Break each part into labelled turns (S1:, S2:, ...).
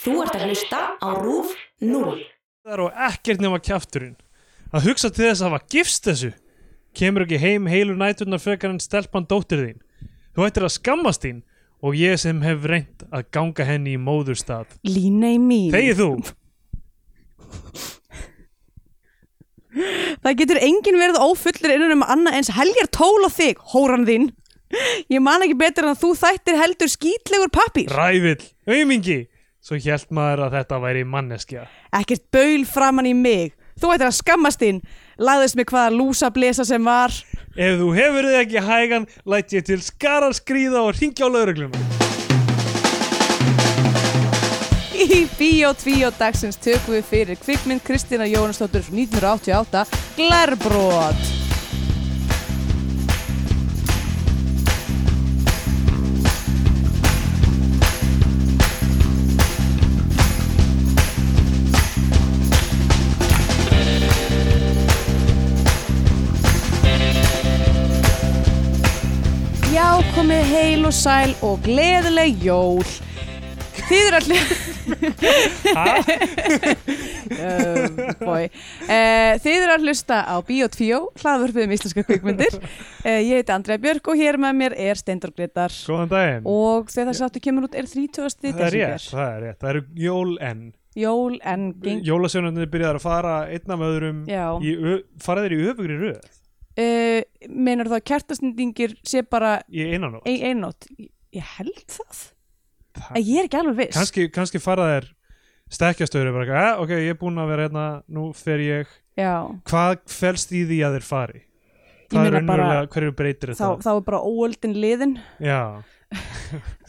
S1: Þú ert að hlusta á RÚF 0.
S2: þar og ekkert nema kjafturinn að hugsa til þess að hafa gifst þessu kemur ekki heim heilur næturnar frekar en stelpan dóttir þín þú ættir að skammast þín og ég sem hef reynt að ganga henni í móðurstað
S3: Línei mín.
S2: þegið þú,
S3: Það getur enginn verið ófullur innan um annað eins helgar tól á þig, hóran þín. Ég man ekki betur en að þú þættir heldur skítlegur pappir.
S2: rævill, aumingi svo hjælt maður að þetta væri manneskja
S3: Ekkert baul framann í mig. Þú ættir að skammast þín. Lagðist mig hvaða lúsa blesa sem var.
S2: ef þú hefur þið ekki hægan læt ég til skarar skríða og ringja á laurugluna
S3: Í Bíó 2 dagsins tökum við fyrir kvikmynd Kristina Jónasdóttur frá 1988 Glerbrot. Já, komið heil og sæl og gleðileg jól. Þið eru allir... um, boy. uh, þið eru að hlusta á Bíó 2, hlaðvörfið um íslenska kvikmyndir. Uh, ég heiti Andrea Björk og hér með mér er Steindor Gretar.
S2: góðan daginn
S3: Og þegar þessi áttu kemur út er 30.
S2: það er rétt, það er rétt, það eru jól enn
S3: Jól en geng...
S2: jólasjónarnir byrjaðar að fara einna með öðrum
S3: Já.
S2: í, ö- fara þeir í öfugri röð
S3: Uh, Meinar það að kertasnýtingir sé bara
S2: í einan og
S3: ein, einnót? Ég held það. En Ég er ekki alveg viss.
S2: kannski, kannski fara þær stekkjastöður bara, eitthvað, eh, ok, ég er búinn að vera hérna nú fer ég,
S3: Já.
S2: hvað felst í því að þeir fari
S3: meina
S2: það er
S3: bara-
S2: unnverulega hverju breytir
S3: Þá,
S2: þetta
S3: þá er bara óöldin liðin.
S2: já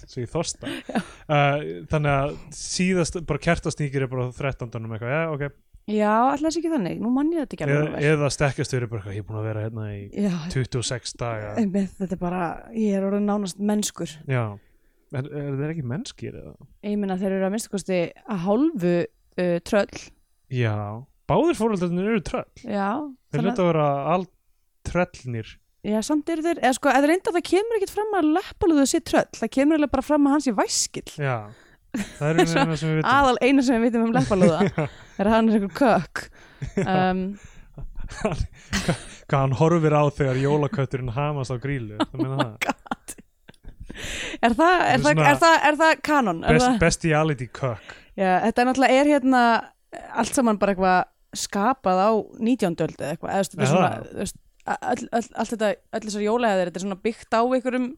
S2: svo ég þorsta uh, þannig að síðast bara kertastíkir er bara á 13. eitthvað, já, ok,
S3: Já, alltaf ekki þannig, nú mann ég þetta ekki alveg
S2: eða,
S3: alveg vel.
S2: eða stekkjastöður er bara, eitthvað, ég er búinn að vera hérna í
S3: Já,
S2: 26 daga
S3: einmitt, þetta er bara, ég er orðin nánast mennskur.
S2: já, er, er þeir ekki mennskir eða?
S3: Ég meina þeir eru að minnsta kosti að hálfu uh, tröll.
S2: Já, báðir fóröldarnir eru tröll
S3: Já,
S2: Þeir
S3: þannig
S2: hluta að vera allt tröllnir
S3: að, já, samt eru þeir, eða sko, eða reynda það kemur ekkit fram að leppalúðu sé tröll, það kemur eiginlega bara fram að hans í væskill.
S2: Já, það er einu eina sem við vitum
S3: Aðal eina sem við vitum um leppalúða er að hann er einhver kökk. Um,
S2: Hvað hann horfir á þegar jólakötturinn hamast á grílu Það meina það
S3: er, það,
S2: er
S3: er, það,
S2: svona-
S3: er, það, er það kanon? Er
S2: Best,
S3: það,
S2: Bestiality kök
S3: já, þetta er náttúrulega, er hérna allt saman bara eitthvað skapað á 19. öld eða eitthvað, eða þú veist, þetta
S2: Er
S3: er svona,
S2: það?
S3: þú veist, all, all, allt þetta, öll þessar jólæðir, þetta er svona byggt á einhverjum,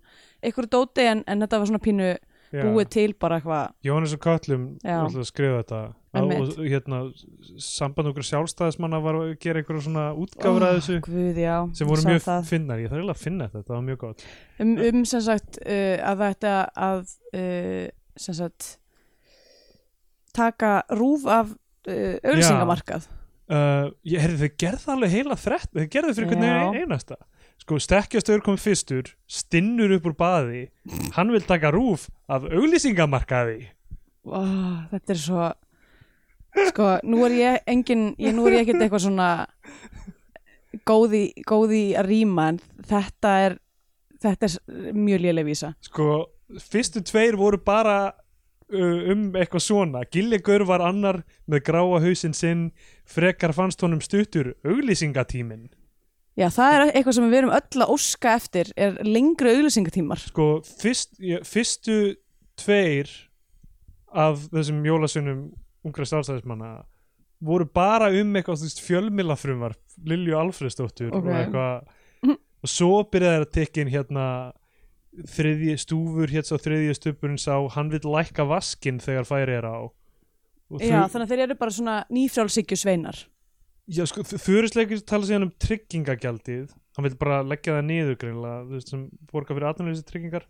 S3: einhverju dóti en, en þetta var svona pínu
S2: Já.
S3: búið til bara eitthvað
S2: Jóhannes og Köllum
S3: Já.
S2: ætlaði að skrifa þetta Að-
S3: Einmitt.
S2: og hérna, samband okkur sjálfstæðismanna var að gera einhverja svona útgáfur að þessu
S3: Ah, Guð, já,
S2: sem voru
S3: sá
S2: mjög
S3: það.
S2: finnar, ég þarf eiginlega að finna þetta það var mjög gott
S3: um, um sem sagt uh, að þetta að uh, sem sagt taka rúf af uh, auglýsingamarkað
S2: uh, ég herði þau gerði það alveg heila þrett þau gerði fyrir
S3: Já.
S2: hvernig einasta sko stekkjastöður kom fyrstur stinnur upp úr baði hann vil taka rúf af auglýsingamarkaði
S3: Ó, Ah, þetta er svo sko, nú er ég engin ég, nú er ég ekkert eitthvað svona góði, góði að rýma en þetta er þetta er mjög léleg vísa
S2: sko fyrstu tveir voru bara uh, um eitthvað svona Gillegur var annar með gráa hausinn sinn frekar fannst honum stuttur auglýsingatíminn
S3: já, það er eitthvað sem við erum öll að óska eftir er lengri auglýsingatímar
S2: sko fyrst, ég, fyrstu tveir af þessum jólasunum ungra sjálfstæðismanna voru bara um eitthvað fjölmila frumvarp Lilju Alfreðsdóttur
S3: Ok. Mhm.
S2: og eitthvað og svo byrjaði að tekja inn hérna þriðji stúfur hérna sá þriðji stupurinn sá hann vill lækka vaskinn þegar færi er á og
S3: já, þannig að þeir eru bara svona nýfrjálsíkju sveinar
S2: Já, sko, þurrisleikur tala síðan um tryggingagjaldið hann vil bara leggja það niður greinlega þú veist, sem borga fyrir atvinnuleysi tryggingar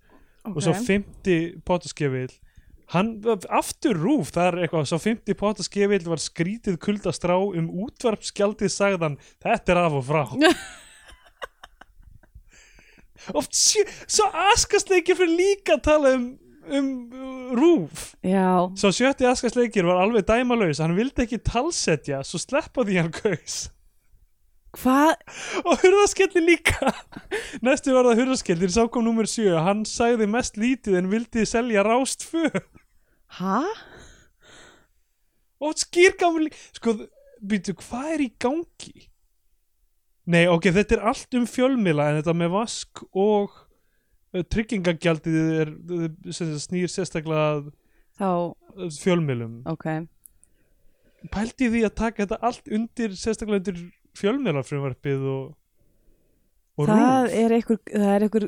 S2: og svo
S3: Ok.
S2: fymti potaskefill hann, aftur rúf það er eitthvað, svo fymti potaskefill var skrítið kuldastrá um útvarpsgjaldið sagðan, þetta er af og frá oft sé, svo askasleikir fyrir líka að tala um um uh, rúf
S3: já,
S2: svo sjötti askasleikir var alveg dæmalaus hann vildi ekki talsetja, svo sleppa því hann kaus
S3: hvað
S2: og hurðaskellir líka næstu var það hurðaskellir sá kom nummer 7, hann sagði mest lítið en vildi selja rást fö
S3: Hæ?
S2: og skýrgamli sko, býtu, hvað er í gangi? Nei, ok, þetta er allt um fjölmila en þetta með vask og uh, tryggingagjaldið er, uh, sem sagt, snýr sérstaklega að
S3: þá,
S2: uh, fjölmilum
S3: ok
S2: pældi því að taka þetta allt undir sérstaklega undir fjölmilafrumvarpið og, og
S3: það
S2: rúf
S3: er, einhver, það er einhver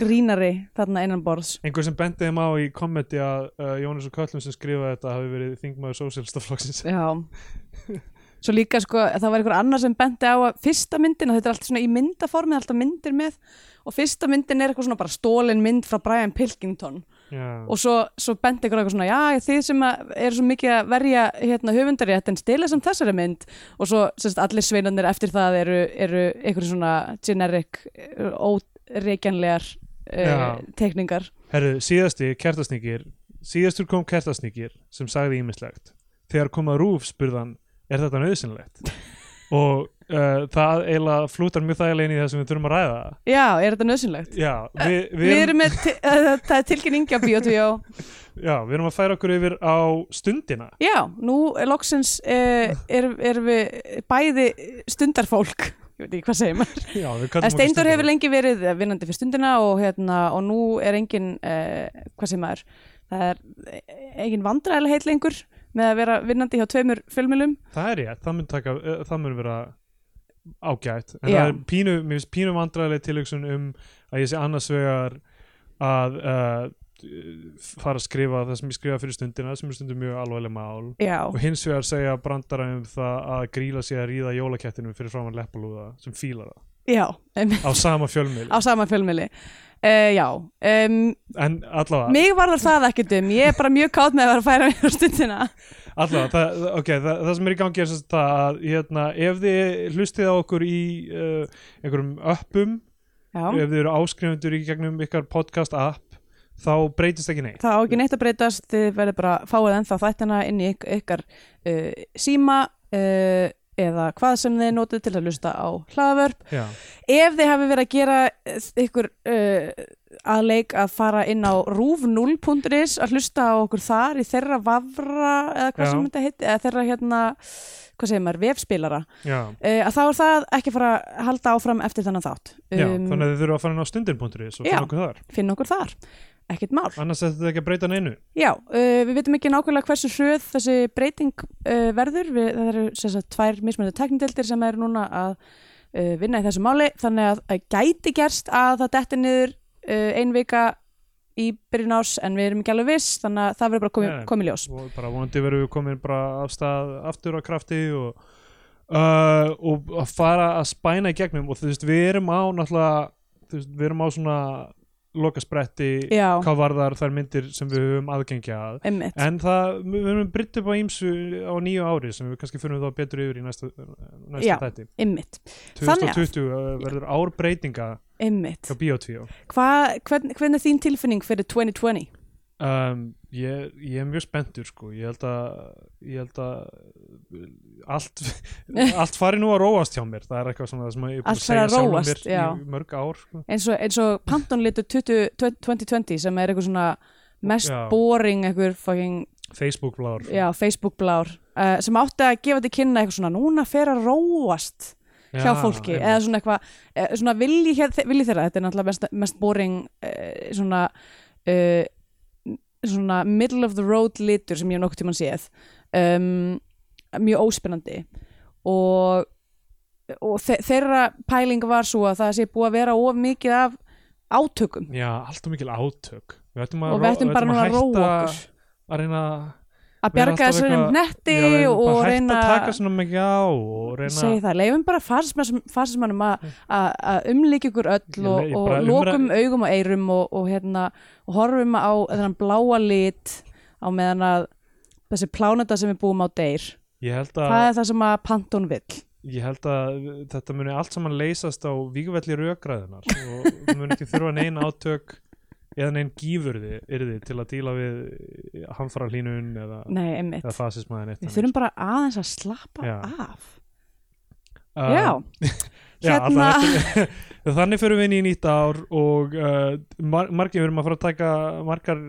S3: grínari þarna innan borðs
S2: einhver sem bendi þeim á í kommenti að uh, Jónas og Köllum sem skrifaði þetta hafi verið þingmaður sósélstaflokksins
S3: já svo líka sko, það var einhver annar sem benti á að fyrsta myndin, þetta er allt svona í myndaformið alltaf myndir með og fyrsta myndin er eitthvað svona bara stólin mynd frá Brian Pilkington og svo, svo benti ykkur á eitthvað svona já, þið sem að eru svo mikið að verja hérna, höfundarétt en stila sem þessari mynd og svo sérst, allir sveinarnir eftir það eru, eru einhverjum svona generic, eh, óreikjanlegar uh,
S2: Já.
S3: tekningar
S2: Herru, síðasti kertasnýkir síðastur kom kertasnýkir sem sagði ímislegt þegar kom að rúf spurðan er þetta nöðsynlegt og uh, það eiginlega flútar mjög þægilega inn í það sem við þurfum að ræða
S3: já, er þetta nöðsynlegt?
S2: Já, við, við,
S3: Við erum með, ti- eh, það er tilkynningi á Bíotvíó
S2: já, við erum að færa okkur yfir á stundina
S3: já, nú er loksins eh, erum er við bæði stundarfólk ég veit ekki hvað segir maður
S2: Já, við
S3: Eh,
S2: köllum okkur
S3: Steindór
S2: Stundina.
S3: hefur lengi verið eh, vinnandi fyrir stundina og, hérna, og nú er engin, uh, hvað sem maður, það er eh, engin vandræðileg heit lengur með að vera vinnandi hjá tveimur fjölmjölum.
S2: Það er ég, það mun, taka, eh, það mun vera ágætt en
S3: Já.
S2: það er pínu, mér finnst pínu vandræðileg tilhugsun um að ég sé annars vegar að uh, fara að skrifa það sem ég skrifa fyrir stundina sem er stundum mjög alvarleg mál
S3: Já,
S2: og hins vegar segja brandara um það að gríla sig að ríða jólakettinum fyrir framann leppalúða sem fílar það
S3: já, em,
S2: á sama fjölmiðli
S3: á sama fjölmjöli. Uh, já, um,
S2: en allavega,
S3: mig varðar það ekkert um, ég er bara mjög kátt með að vera að færa mér á stundina.
S2: allavega það, það- okay, það, það sem er í gangi er sem sagt það að hérna, ef þið hlustið á okkur í uh, einhverjum uppum
S3: Já,
S2: ef þið eru áskrifendur í gegnum ykkar podcast app þá breytist ekki neitt
S3: það á ekki neitt að breytast, þið verður bara fáið ennþá þættina inn í yk- ykkar uh, síma uh, eða hvað sem þið notið til að lusta á hlaðavörp.
S2: Já.
S3: ef þið hafi verið að gera eh, ykkur uh, að leik að fara inn á rúf0.is að hlusta á okkur þar í þeirra vafra eða hvað
S2: Já.
S3: sem þetta heiti eða þeirra hérna, hvað segir maður, vefspilara uh,
S2: Já.
S3: að þá er það ekki að fara að halda áfram eftir þannig þátt
S2: Já, þannig að þið þurfa að fara inn á stundin.is og
S3: Um, Já.
S2: finna okkur þar
S3: finn okkur þar, ekkert mál
S2: annars ætti þetta ekki að breyta neinu
S3: Já, uh, við veitum ekki nákvæmlega hversu hröð þessi breyting uh, verður. Við, það eru sem sagt tvær mismunandi teknideldir sem eru núna að uh, vinna í þessu máli. Þannig að, að gæti gerst að það detti niður uh, ein vika í byrjun árs en við erum ekki alveg viss þannig að það verður bara komið,
S2: Nei, nei.
S3: komið ljós.
S2: og bara vonandi verðum við komin bara af stað aftur á krafti og, uh, og að fara að spæna í gegnum og þú veist við erum á náttúrulega þú veist, við erum á svona lokaspretti
S3: Já,
S2: hvað varðar þær myndir sem við höfum aðgengja að
S3: einmitt.
S2: En það, við erum brytt upp á ímsu á nýju ári sem við kannski fyrir þá betur yfir í næsta, næsta
S3: Já.
S2: þætti.
S3: Einmitt. Þannig að-
S2: 2020 eh, verður ár breytinga
S3: einmitt.
S2: hjá Bíotvíó.
S3: Hva, hvern, hvern er þín tilfinning fyrir 2020?
S2: Um, ég, ég er mjög spenntur sko, ég held að, ég held að allt, allt fari nú að róast hjá mér, það er eitthvað svona sem ég er búin
S3: Allt
S2: að
S3: fari
S2: segja
S3: að
S2: sjálfum
S3: róast,
S2: mér
S3: já.
S2: í mörg ár. Sko.
S3: Eins og, eins og Pantone litur 20, 2020 sem er eitthvað svona mest
S2: Já.
S3: boring eitthvað fucking
S2: Facebook blár.
S3: já, Facebook blár uh, sem átti að gefa til kynna eitthvað svona núna fer að róast hjá fólki eða svona eitthvað, eh, svona vilji, hér, vilji þeirra þetta er náttúrulega mest, mest boring uh, svona uh, svona middle of the road litur sem ég hef nokkuð tímann séð um, mjög óspennandi og, og þe þeirra pæling var svo að það sé búið að vera of mikið af átökum
S2: Já, allt og mikil átök. Við ættum að, ró-
S3: og við ættum bara núna að róa
S2: hætta
S3: okkur
S2: Að reyna að
S3: að
S2: vera
S3: bjarga
S2: alltaf
S3: þessari
S2: eitthvað-
S3: netti
S2: Já, við erum bara
S3: og
S2: hætt
S3: reyna
S2: að taka svona mikið á og reyna Mm.
S3: segi það, leifum bara fasismann- fasismannum að- að að umlíkja ykkur öll og,
S2: Ég le- ég
S3: og
S2: bara
S3: lokum augum og eyrum og, og, hérna, og horfum á þennan bláa lit á meðan að þessi pláneta sem við búum á deyr
S2: ég held,
S3: það
S2: að,
S3: er það sem að Pantón vill
S2: ég held að þetta muni allt saman leysast á vígvelli rökræðunar og það muni ekki þurfa neina átök eða neinn gífurði yrði til að díla við hamfara hlínun eða,
S3: nei, einmitt,
S2: eða fasismæðin eitt
S3: við þurfum bara aðeins að slappa
S2: Já.
S3: af
S2: uh,
S3: já,
S2: Já,
S3: Hérna.
S2: allavega, þannig fyrir við inn í nýtt ár og uh, mar margir við erum að fara að taka margar,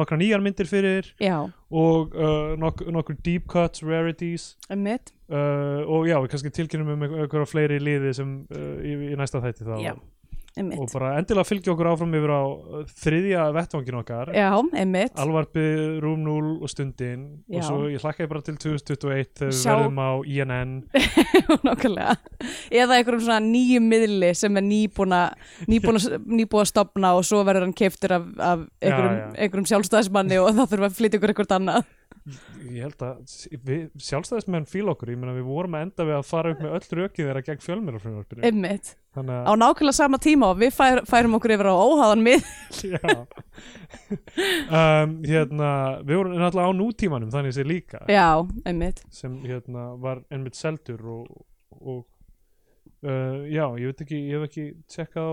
S2: nokkra nýjar myndir fyrir
S3: já,
S2: og uh, nok nokkur deep cuts, rarities
S3: emmitt
S2: uh, og já, við kannski tilkynum um einhver- einhverja fleiri liði sem uh, í, í næsta þætti þá
S3: Já,
S2: og
S3: emmitt,
S2: bara endilega fylgja okkur áfram yfir á uh, þriðja vettvangin okkar
S3: já, emmitt
S2: alvarpið, rúm 0 og stundin
S3: Já.
S2: og svo ég hlakka ég bara til 2021 þegar við
S3: Sjá-
S2: verðum á INN
S3: nokkulega eða einhverjum svona nýjum miðli sem er nýbúna nýbúna, nýbúna að stopna og svo verður hann keiftur af, af einhverjum,
S2: já.
S3: einhverjum sjálfstæðismanni og það þurfa að flytja ykkur eitthvað annað
S2: ég held að við, sjálfstæðismenn fíl okkur, ég meina við vorum að enda við að fara upp með öll rökið þeirra gegn fjölmjörafrunvarpinu
S3: emmitt,
S2: þannig
S3: á nákvæmlega sama tíma og við fær, færum okkur yfir á óháðan mið
S2: að já. um, hérna, við vorum náttúrulega á nútímanum þannig sé líka
S3: já, emmitt,
S2: sem hérna var einmitt seldur og, og uh, já, ég veit ekki, ég hef ekki tjekkað á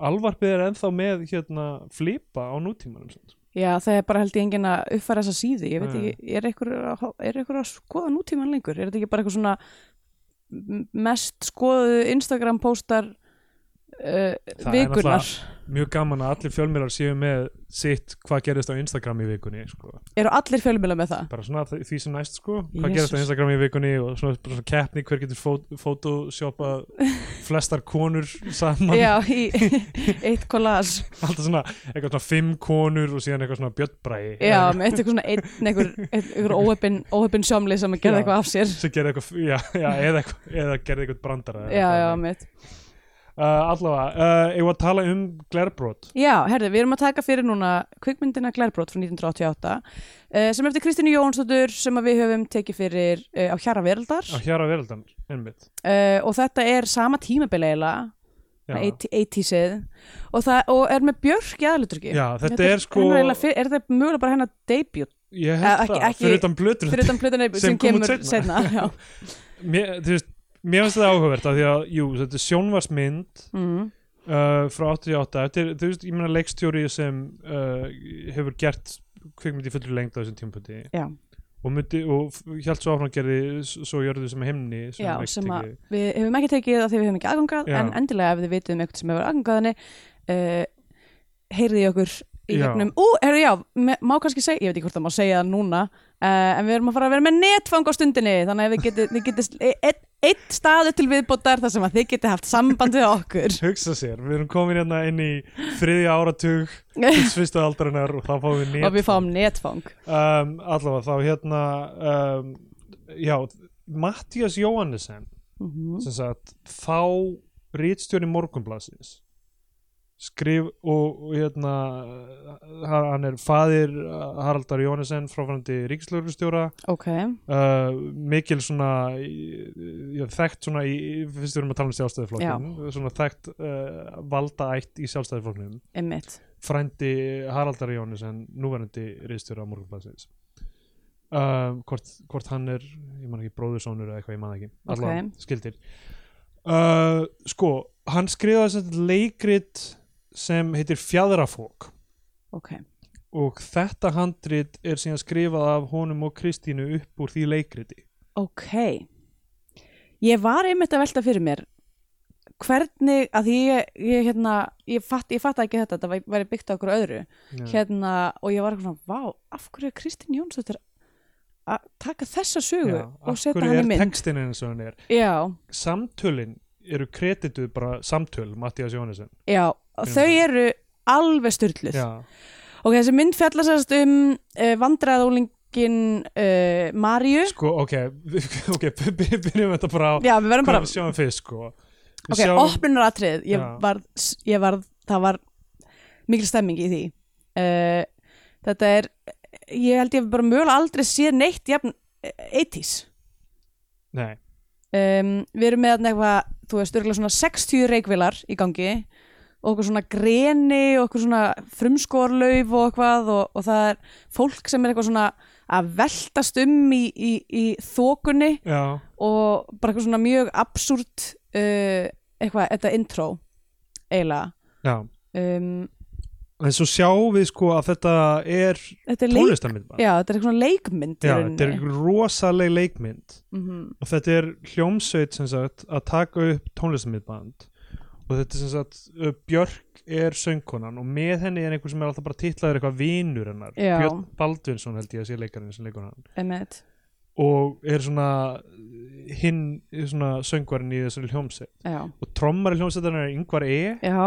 S2: alvarpið er ennþá með hérna flipa á nútímanum samt. sko.
S3: já það er bara held ég enginn að uppfæra þessa síðu, ég veit
S2: Nei.
S3: ekki er einhver að, er einhver að skoða nútíman lengur er þetta ekki bara eitthvað svona m- mest skoðu Instagram póstar uh,
S2: Það er
S3: vikunar
S2: mjög gaman að allir fjölmjölar séu með sitt hvað gerist á Instagram í vikunni sko.
S3: eru allir fjölmjöla með það
S2: bara svona þ- því sem næst sko hvað
S3: Jesus.
S2: gerist á Instagram í vikunni og svona, bara svona keppni hver getur fó- photoshoppað flestar konur saman
S3: já, í eitt kollás
S2: alltaf svona eitthvað svona fimm konur og síðan eitthvað svona bjöttbræði
S3: já, með eitt eitthvað svona einn einhver, einhver óöpin, óöpin sjómli sem
S2: Já.
S3: að gera eitthvað af sér
S2: sem gerði eitthvað, já, já, eða, eitthvað, eða gerði eitthvað brandara eða
S3: já, já,
S2: eitthvað.
S3: mitt
S2: uh, allavega, uh, ég var að tala um glerbrot
S3: Já, herði, við erum að taka fyrir núna kvikmyndina Glerbrot frá 1988 uh, sem er eftir Kristínu Jónsdóttur sem að við höfum tekið fyrir uh, á Hjara Veraldar
S2: á hér á veröldan, einmitt
S3: uh, og þetta er sama tímabili eiginlega,
S2: já.
S3: 80- 80-sið og, það- og er með Björk í aðluturki
S2: Já, þetta er sko-
S3: Er þetta mögulega bara hennar debut
S2: ég
S3: Eh,
S2: held
S3: ekki-
S2: það,
S3: ekki-
S2: fyrir utan blötur
S3: fyrir utan plöðan debut
S2: Sem
S3: sem,
S2: kom út
S3: kemur
S2: seinna.
S3: setna Já,
S2: mér, þú veist, mér finnst þetta áhugavert af því að, jú, þetta er sjónvarsmynd
S3: mm,
S2: uh, frá 88 þetta er, þú veist, ég meina leikstjóri sem uh, hefur gert kvikmynd í fullri lengd á þessum tímpúti
S3: já,
S2: og, myndi, og hjælt svo áfram að gerði s- svo jörðu sem himni sem
S3: já
S2: leikstjóri.
S3: sem að við hefum ekki tekið það þegar við höfum ekki aðgangað
S2: Já.
S3: en endilega ef þið vitið um eitthvað sem hefur aðgangað henni uh, heyrðið í okkur í
S2: Já.
S3: gegnum, ú, herri já, me- má kannski segja ég veit ekki hvort það má segja það núna uh, en við erum að fara að vera með netfang á stundinni þannig að við getið, þið getið e- einn einn staðu til viðbótar þar sem að þið getið haft samband við okkur
S2: hugsa sér, við erum komin hérna inn í þriðja áratug hins fyrsta aldarinnar og þá fáum við nýtt
S3: og við fáum netfang
S2: um, allavega þá hérna um, já, Mattias Jóhannesen
S3: mm
S2: sem sagt, þá rítstjóri morgunblasins skrif og, og hérna uh, hann er faðir uh, Haraldar Jónesen fráfærandi ríkislaugurstjóra
S3: ok,
S2: uh, mikil svona í- já, þekkt svona í, í- fyrst við erum að tala um sjálfstæðiflokkin svona þekkt uh, valda ætt í sjálfstæðiflokknum
S3: einmitt
S2: frændi Haraldar Jónisen núverandi reyðstjóra morgunblæsins uh, hvort, hvort hann er ég man ekki bróðursónur eða eitthvað ég man það ekki allavega skildir uh, sko, hann skrifaði sem sagt leikrit sem heitir Fjadrafók
S3: ok,
S2: og þetta handrit er síðan skrifað af honum og Kristínu upp úr því leikriti
S3: ok ég var einmitt að velta fyrir mér hvernig, að því ég, ég hérna, ég fatt, ég fatt ekki þetta þetta væ- væri byggt á okkur öðru
S2: Mm.
S3: hérna, og ég var eitthvað svona, vá, af hverju er Kristín Jónsdóttir að taka þessa sögu og setja hann í
S2: er
S3: mynd
S2: textin eins og hann er
S3: já,
S2: samtölin eru kredituð bara samtöl Mattias Jónesen
S3: já,
S2: Fyrir
S3: þau
S2: mynd.
S3: eru alveg styrluð
S2: já,
S3: ok, þessi mynd fjallasast um uh, vandræðólingin uh, Maríu
S2: sko, ok ok, by- by- byrjum þetta bara á
S3: já, við verðum bara
S2: hvað við sjáum fyrst, sko Við
S3: ok, opnunaratrið ég
S2: Já.
S3: var, ég var, það var mikil stemming í því uh, þetta er ég held ég hef bara mögulega aldrei séð neitt jafn, eh, 80s
S2: nei,
S3: um, við erum með þarna eitthvað, þú veist, örgulega svona 60 reikvilar í gangi og okkur svona greni og okkur svona frumskorlauf og eitthvað og, og það er fólk sem er eitthvað svona að veltast um í, í, í þokunni
S2: já,
S3: og bara eitthvað svona mjög absúrt uh, eitthvað, þetta intro eiginlega
S2: já
S3: um,
S2: en svo sjáum við sko að þetta er
S3: Þetta er leik,
S2: tónlistarmynd bara.
S3: já, þetta er eitthvað svona leikmynd
S2: Já, þetta er rosaleg leikmynd
S3: mm
S2: og þetta er hljómsveit sem sagt að taka upp tónlistamidband og þetta er sem sagt uh, Björk er söngkonan og með henni er einhver sem er alltaf bara titlaður eitthvað vinur hennar
S3: Já.
S2: Björn Baldvinsson held ég að sé leikarinn sem leikur hann
S3: Emmett,
S2: og er svona uh, hinn er svona söngvarinn í þessari hljómsveit
S3: já,
S2: og trommar í hljómsveitarinn er yngvar E
S3: já,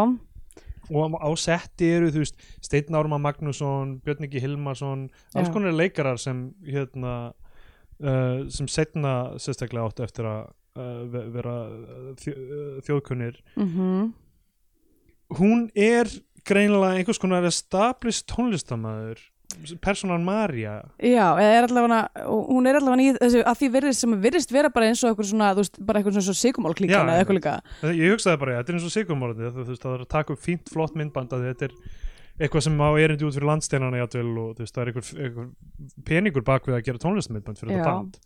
S2: og á setti eru þú veist Steinn Árma Magnússon, Björn Ingi Hilmarsson alls
S3: Já.
S2: konar leikarar sem hérna uh, sem setna sérstaklega áttu eftir að uh, ve- vera uh, þjó, uh, þjóðkunnir
S3: mhm,
S2: hún er greinilega einhvers konar established tónlistamæður personan Marja
S3: já, eða er allavega, hún er allavega í þessu, að því virðist sem virðist vera bara eins og eitthvað svona, þú veist, bara eitthvað svona sigumál
S2: Já,
S3: klíkan eða eitthvað líka,
S2: ég hugsaði bara, þetta er eins og sigurmórandi þú veist, það er að taka upp fínt flott myndband að þetta er eitthvað sem á erindi út fyrir landsteinana játvel og þú veist, það er einhver, einhver peningur bak við að gera tónlistamindband fyrir
S3: Já.
S2: þetta band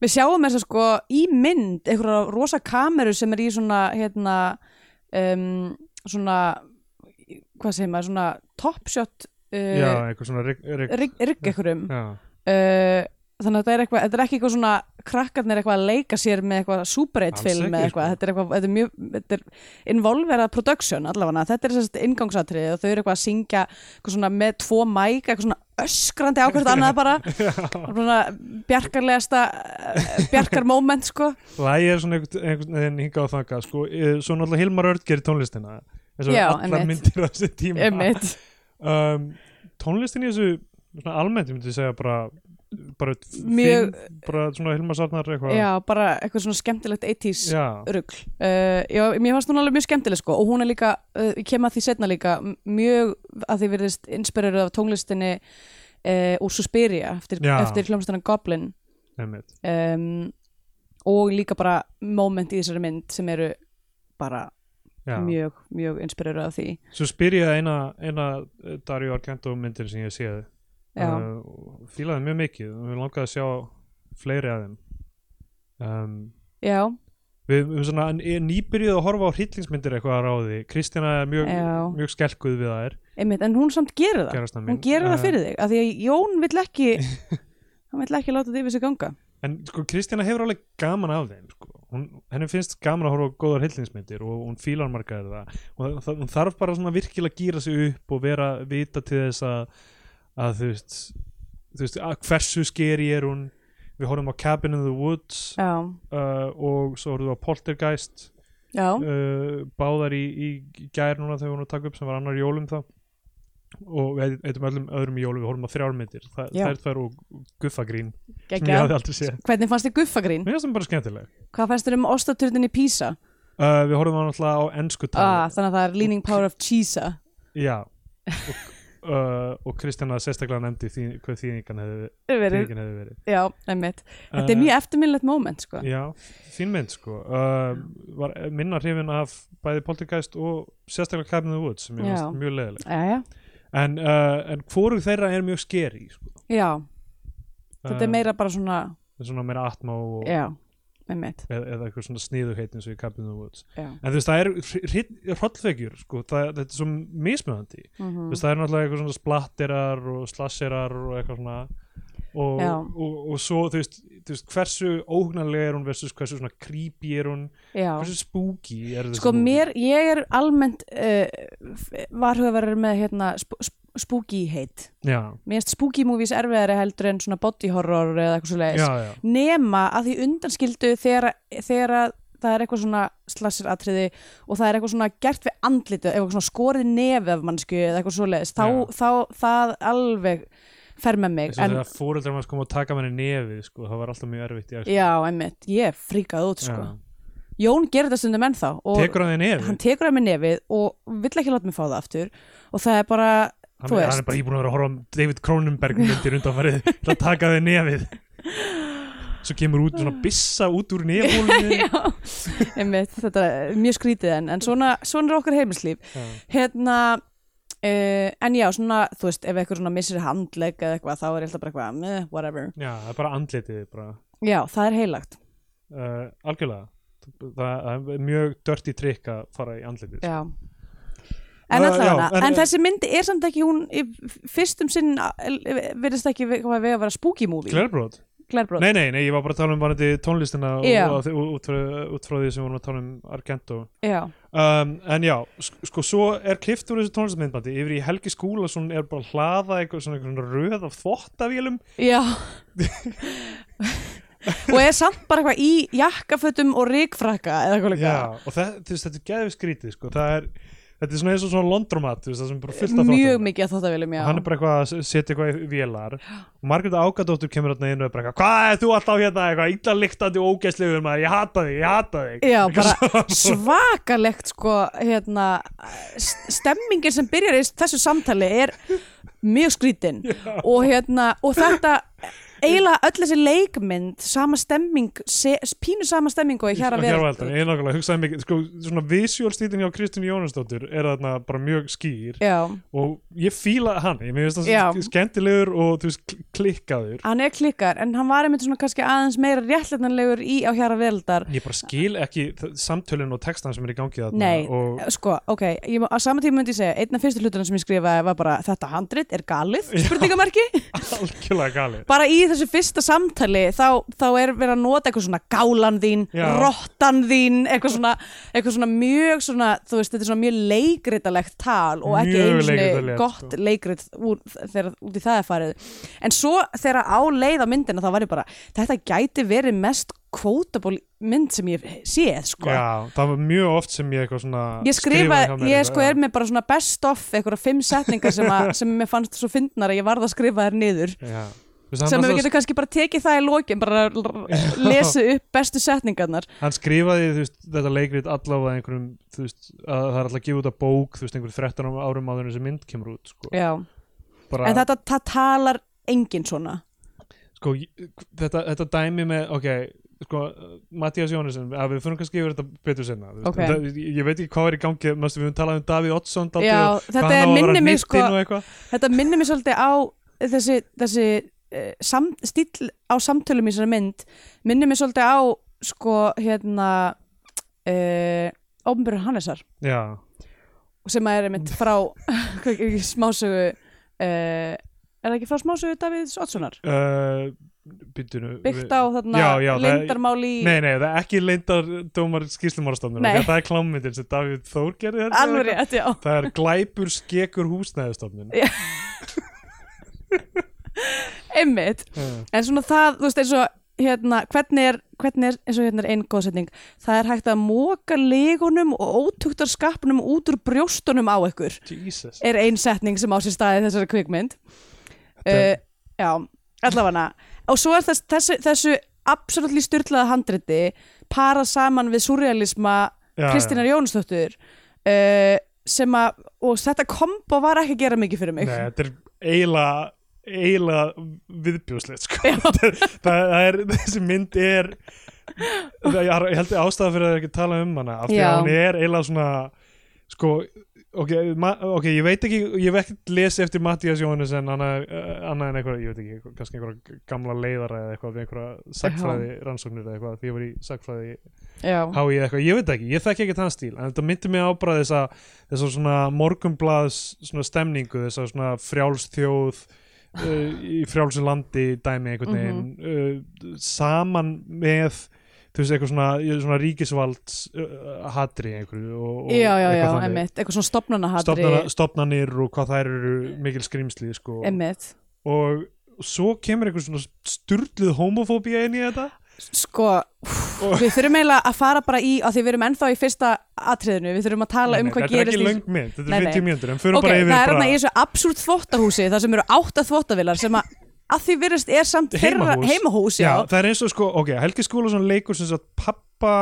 S3: Við sjáum þess að sko í mynd einhverja rosa kameru sem er í svona hérna um, svona hvað segir maður, svona topshot
S2: já,
S3: uh,
S2: eitthvað svona rigg, rigg,
S3: rigg rigg einhverjum uh,
S2: já,
S3: þannig að þetta er eitthvað, þetta er ekki eitthvað svona krakkarnir eitthvað að leika sér með eitthvað Super 8
S2: Alls
S3: film
S2: ekki,
S3: eða eitthvað,
S2: sko.
S3: þetta er eitthvað þetta er mjög, þetta er involverað production allavega, þetta er sérst ingangsatriði og þau eru eitthvað að syngja eitthvað svona með tvo mæk, eitthvað svona öskrandi ákvært annað bara, svona bjarkarlegasta bjarkar moment sko
S2: lægi er svona einhvern einhvern veginn hingað og þangað sko, eh, svo náttúrulega Hilmar Örd gerir tónlistina eins og
S3: Já,
S2: allar
S3: einmitt.
S2: myndir á þessi tíma
S3: Einmitt.
S2: um, tónlistin í þessu svona almennt, ég myndi segja bara bara,
S3: Mjög-
S2: fín, bara svona Hilmar Sarnar eitthvað
S3: Já, bara eitthvað svona skemmtilegt 80s
S2: já,
S3: rugl uh, já, Mér fannst hún alveg mjög skemmtileg sko og hún er líka, uh, ég kem að því setna líka m- mjög að því virðist inspireruð af tónlistinni uh, úr Suspiria eftir,
S2: Já.
S3: eftir hljómsdana Goblin
S2: einmitt.
S3: um, og líka bara moment í þessari mynd sem eru bara
S2: já.
S3: mjög, mjög inspireruð af því
S2: svo spyr ég að eina, eina eh, Dario Argento myndir sem ég séð
S3: Já,
S2: uh, fílaði mjög mikið og við langaði að sjá fleiri af þeim um,
S3: já,
S2: Við við erum svona er nýbyrjuð að horfa á hryllingsmyndir eitthvað að ráði. Kristina er mjög,
S3: Já.
S2: mjög skelkuð við það er,
S3: einmitt, en hún samt gerir það
S2: gerastan minn.
S3: Hún gerir það
S2: Eh,
S3: fyrir þig, af því að Jón vill ekki hann vill ekki láta því við sig ganga
S2: En sko, Kristina hefur alveg gaman af þeim, sko. Hún, henni finnst gaman að horfa á góðar hryllingsmyndir og hún fílar margaðir það. Og það, hún þarf bara svona virkilega að gýra sig upp og vera vita til þess að, að þú veist, þú veist, að hversu skeri er hún. Við horfum á Cabin in the Woods
S3: Já,
S2: uh, og svo horfum við á Poltergeist.
S3: já
S2: uh, báðar í, í gær núna þegar við vorum að taka upp sem var annar í jólum þá og við eitthvað öllum öðrum í jólum við horfum á þrjármyndir, Þa,
S3: Já.
S2: þær tvær og guffagrín sem ég
S3: Gekka.
S2: hafði aldrei séð
S3: Hvernig fannst þið guffagrín?
S2: mér finnst það bara skemmtileg
S3: Hvað fannst þér um ostaturnin í Pisa?
S2: uh, við horfum á náttúrulega á ennsku
S3: Ah,
S2: tali
S3: þannig að það er Leaning Power of Cheesa
S2: já og, uh, og Kristjana sérstaklega nefndi því, hvað þýðingan hefði,
S3: Verið-
S2: þýðingin hefði verið
S3: Já, einmitt
S2: Eh.
S3: Þetta er mjög eftirminnlegt moment sko.
S2: já, fín mynd sko uh, var minna hrifin af bæði Poltergeist og sérstaklega Cabin in the Woods sem ég
S3: Já.
S2: finnst mjög leðileg
S3: Jæja.
S2: en, uh, en hvorug þeirra er mjög skeri sko.
S3: Já, þetta er
S2: Um,
S3: meira bara svona
S2: Það er svona meira atma og eða,
S3: Já, einmitt
S2: eða eitthvað svona sniðuheit eins og í Cabin in the Woods
S3: Já.
S2: en þú veist það er hrollvegjur sko, það, þetta er svo mismunandi
S3: Mhm.
S2: þú veist það er náttúrulega eitthvað svona splatterar og slasserar og eitthvað svona og,
S3: Já.
S2: og, og, svo þú veist, þú veist hversu óhugnarlega er hún versus hversu svona creepy er hún
S3: Já.
S2: hversu spooky er þessi
S3: Sko
S2: movie?
S3: mér, ég er almennt uh, varhugaverður með hérna, sp sp spooky heit
S2: já,
S3: Mér finnst spooky movies erfiðari heldur en svona body horror eða eitthvað svo leiðis
S2: já, já,
S3: nema að því undanskildu þegar, þegar að það er eitthvað svona slassiratriði og það er eitthvað svona gert við andlitu eitthvað svona skorið nefið af mannsku eða eitthvað svoleiðis, þá,
S2: Já.
S3: þá það alveg fer með mig
S2: þessi en...
S3: en,
S2: þegar fóreldrar maður kom að taka manni nefið sko, það var alltaf mjög erfitt í aðeins
S3: já, einmitt, ég fríkaði út sko. Jón gerir þetta stundum ennþá og
S2: tekur hann þig nefið
S3: hann
S2: hann,
S3: tekur það með nefið og vill ekki láta mig fá það aftur og það er bara,
S2: hann,
S3: þú
S2: er-
S3: veist
S2: hann er bara íbúin að vera að horfa á David Cronenberg myndir undanfarið til að taka þig nefið svo kemur út svona bissa út úr nefólinu
S3: Já, einmitt, þetta er mjög skrítið en, en svona, svona er okkar heimilslíf hérna uh, en já, svona, þú veist, ef eitthvað svona missir handleg eða eitthvað, þá er ég alltaf bara eitthvað meh, whatever,
S2: já, það er bara andlitið bara.
S3: já, það er heilagt
S2: Uh, algjörlega það, það er mjög dörti trikk að fara í andlitið
S3: já En
S2: Já,
S3: allavega,
S2: já, en- eh,
S3: en, þessi myndi er samt ekki hún í f- fyrstum sinn verðist ekki við, hvað við að vera spooky movie
S2: Glerbrót?
S3: Glerbrót,
S2: Nei, nei, nei, ég var bara að tala um varandi tónlistina og,
S3: Já.
S2: og, og út, frá, út frá því sem við vorum að tala um Argento
S3: já,
S2: um, En já, sk- sko, svo er klift úr þessu tónlistamindbandi yfir í Helgi Skúlason er bara að hlaða eitthvað svona einhvern röð af þvottavélum
S3: já. og er samt bara eitthvað í jakkafötum og rikfrakka eða eitthvað líka
S2: Já, og það, þú veist, þetta er geðið skrítið, sko Það er, þetta er svona eins og svona londromat, þú veist, það sem er bara fullt af
S3: mjög
S2: þvottavél.
S3: mikið að þetta viljum, já
S2: og hann er bara eitthvað að setja eitthvað í vélar og Margrét Ágadóttur kemur hérna inn og er bara eitthvað hvað er þú alltaf hérna eitthvað illa lyktandi og ógæslegur maður, ég hata þig, ég hata þig
S3: Já,
S2: Eitthvað
S3: bara
S2: svona.
S3: svakalegt sko, hérna st- stemmingin sem byrjar í þessu samtali er mjög skrítin og hérna, og þetta eiginlega öll þessi leikmynd sama stemming, se, pínu sama stemming og ég hér að
S2: Hér á
S3: vera
S2: eldan, ég nákvæmlega hugsaði mikið sko, svona visjólstýtin hjá Kristín Jónasdóttur er þarna bara mjög skýr
S3: Já,
S2: og ég fíla hann, ég mér finnst
S3: Já.
S2: það skemmtilegur og þú veist kl- klikkaður
S3: hann er klikkar en hann var einmitt svona kannski aðeins meira réttlætnanlegur í á hér að veldar
S2: ég bara skil ekki þ- samtölin og textan sem er í gangi þarna
S3: Nei,
S2: og
S3: sko, ok, ég, á sama tíma myndi ég segja einn af fyrstu hlutunum sem ég skrifaði var bara þetta handrit er galið, spurningamarki
S2: algjörlega galið
S3: bara í þessu fyrsta samtali þá, þá er verið að nota eitthvað svona gálan þín,
S2: Já.
S3: rottan þín eitthvað svona, eitthvað svona mjög svona, þú veist, þetta er svona mjög leikritalegt tal og ekki
S2: Mjög
S3: einu sinni
S2: leikritalegt,
S3: gott
S2: sko.
S3: leikrit úr, þegar út í það er farið en svo þegar á leið á myndina þá var ég bara, þetta gæti verið mest quotable mynd sem ég hef séð sko.
S2: Já, það var mjög oft sem ég eitthvað svona
S3: Ég
S2: hjá
S3: skrifa,
S2: mér
S3: ég
S2: eitthvað,
S3: sko
S2: já.
S3: er með bara svona best of einhverja fimm setningar sem, að, sem mér fannst svo fyndnar að ég varð að skrifa þær niður
S2: Já. Þú veist, hann
S3: sem
S2: var
S3: við
S2: svo-
S3: getum kannski bara tekið það í lokin bara r- r- lesa upp bestu setningarnar
S2: hann skrifaði þú veist, þetta leikrit allavega einhverjum þú veist, að það er alltaf að gefa út að bók þú veist, einhverjum 13 árum- árum áður en þessi mynd kemur út sko.
S3: já.
S2: Bara,
S3: en þetta það talar enginn svona
S2: sko, ég- þetta, þetta dæmi með ok, sko, Mattias Jónesson að við fyrir kannski yfir þetta betur senna
S3: Ok.
S2: það, ég, ég veit ekki hvað er í gangi mest, við höfum talað um Davíð Oddsson dálítið
S3: Já,
S2: og hvað
S3: þetta
S2: hann
S3: er
S2: á að vera
S3: minni mig,
S2: hnittinn
S3: sko-
S2: og eitthvað.
S3: þetta minnir mér svolítið á þessi, þessi uh, sam, stíl á samtölum í þessari mynd minnir mér svolítið á sko hérna uh, Ópenbjörn Hannesar
S2: já,
S3: sem að er einmitt frá hvað er ekki smásögu uh, er það ekki frá smásögu Davíðs Oddssonar
S2: uh, byttinu
S3: byggt á þarna
S2: Já, já, það-
S3: lindarmáli í
S2: Nei, nei, það er ekki leindardómar skýslumárstofnur,
S3: Nei.
S2: það er klámyndin sem Davíð Þór gerði held ég, eða
S3: alveg
S2: eitthvað.
S3: rétt, já
S2: Það er glæpur skekur húsnæðustofnun
S3: Já. einmitt
S2: Hmm.
S3: En svona það, þú veist, eins og hérna, hvernig er, hvernig er, eins og hérna er einn góðsetning, það er hægt að móka legunum og ótuktar skapnum út úr brjóstunum á ykkur,
S2: Jesus
S3: er ein setning sem á sér staði þessari kvikmynd. Uh,
S2: Þetta-
S3: já, allavega. Og svo er þess, þessu, þessu absolutt styrlaða handriti parað saman við surrealisma
S2: Já, já.
S3: Kristínar Jónsdóttur uh, sem að, og þetta kombo var ekki að gera mikið fyrir
S2: Nei,
S3: mig.
S2: þetta er eiginlega eiginlega viðbjóðslegt sko. það, er- það það er, þessi mynd er það, ég har- ég held ég ástæða fyrir að ekki tala um hana af því
S3: Já.
S2: að hún er eiginlega svona sko, ok, ma, ok ég veit ekki, ég veit ekki lesi eftir Mattias Jóhannes en annað eh, annað en eitthvað, ég veit ekki, kannski einhverja gamla leiðara eða eitthvað, við einhverja sagfræði rannsóknir eða eitthvað, því ég var í sagfræði
S3: Já,
S2: hái ég eitthvað, ég veit ekki, ég þekki ekki þann stíl en þetta myndi mig á bara þess að þess að svona morgunblaðs svona stemningu þess að svona frjálsþjóð uh, í frjálsum landi dæmi einhvern veginn
S3: Mhm.
S2: uh, saman með þú veist eitthvað svona, svona ríkisvalds uh, hatri einhverju og, og
S3: já, já, já,
S2: eitthvað þannig.
S3: einmitt, eitthvað svona stopnanahatri.
S2: Stofnana, stofnanir og hvað þær eru mikil skrimsli sko.
S3: Einmitt.
S2: og svo kemur einhver svona styrluð homofóbía inn í þetta
S3: Sko, við þurfum eiginlega að fara bara í, af því við erum ennþá í fyrsta atriðinu, við þurfum að tala
S2: Nei,
S3: um
S2: nei,
S3: hvað
S2: þetta er
S3: gerist
S2: ekki
S3: í-
S2: löng mynd, þetta
S3: Nei,
S2: er
S3: nei.
S2: 50 mínútur en fyrir
S3: Ok,
S2: bara
S3: það
S2: yfir
S3: er
S2: bara
S3: þarna í þessu absúrt þvottahúsi, þar sem eru átta þvottavilar sem að, að því virðist er samt þeirra-
S2: heimahús,
S3: heimahús já.
S2: já, það er eins og sko, ok, Helgi Skúlason leikur sem sagt pappa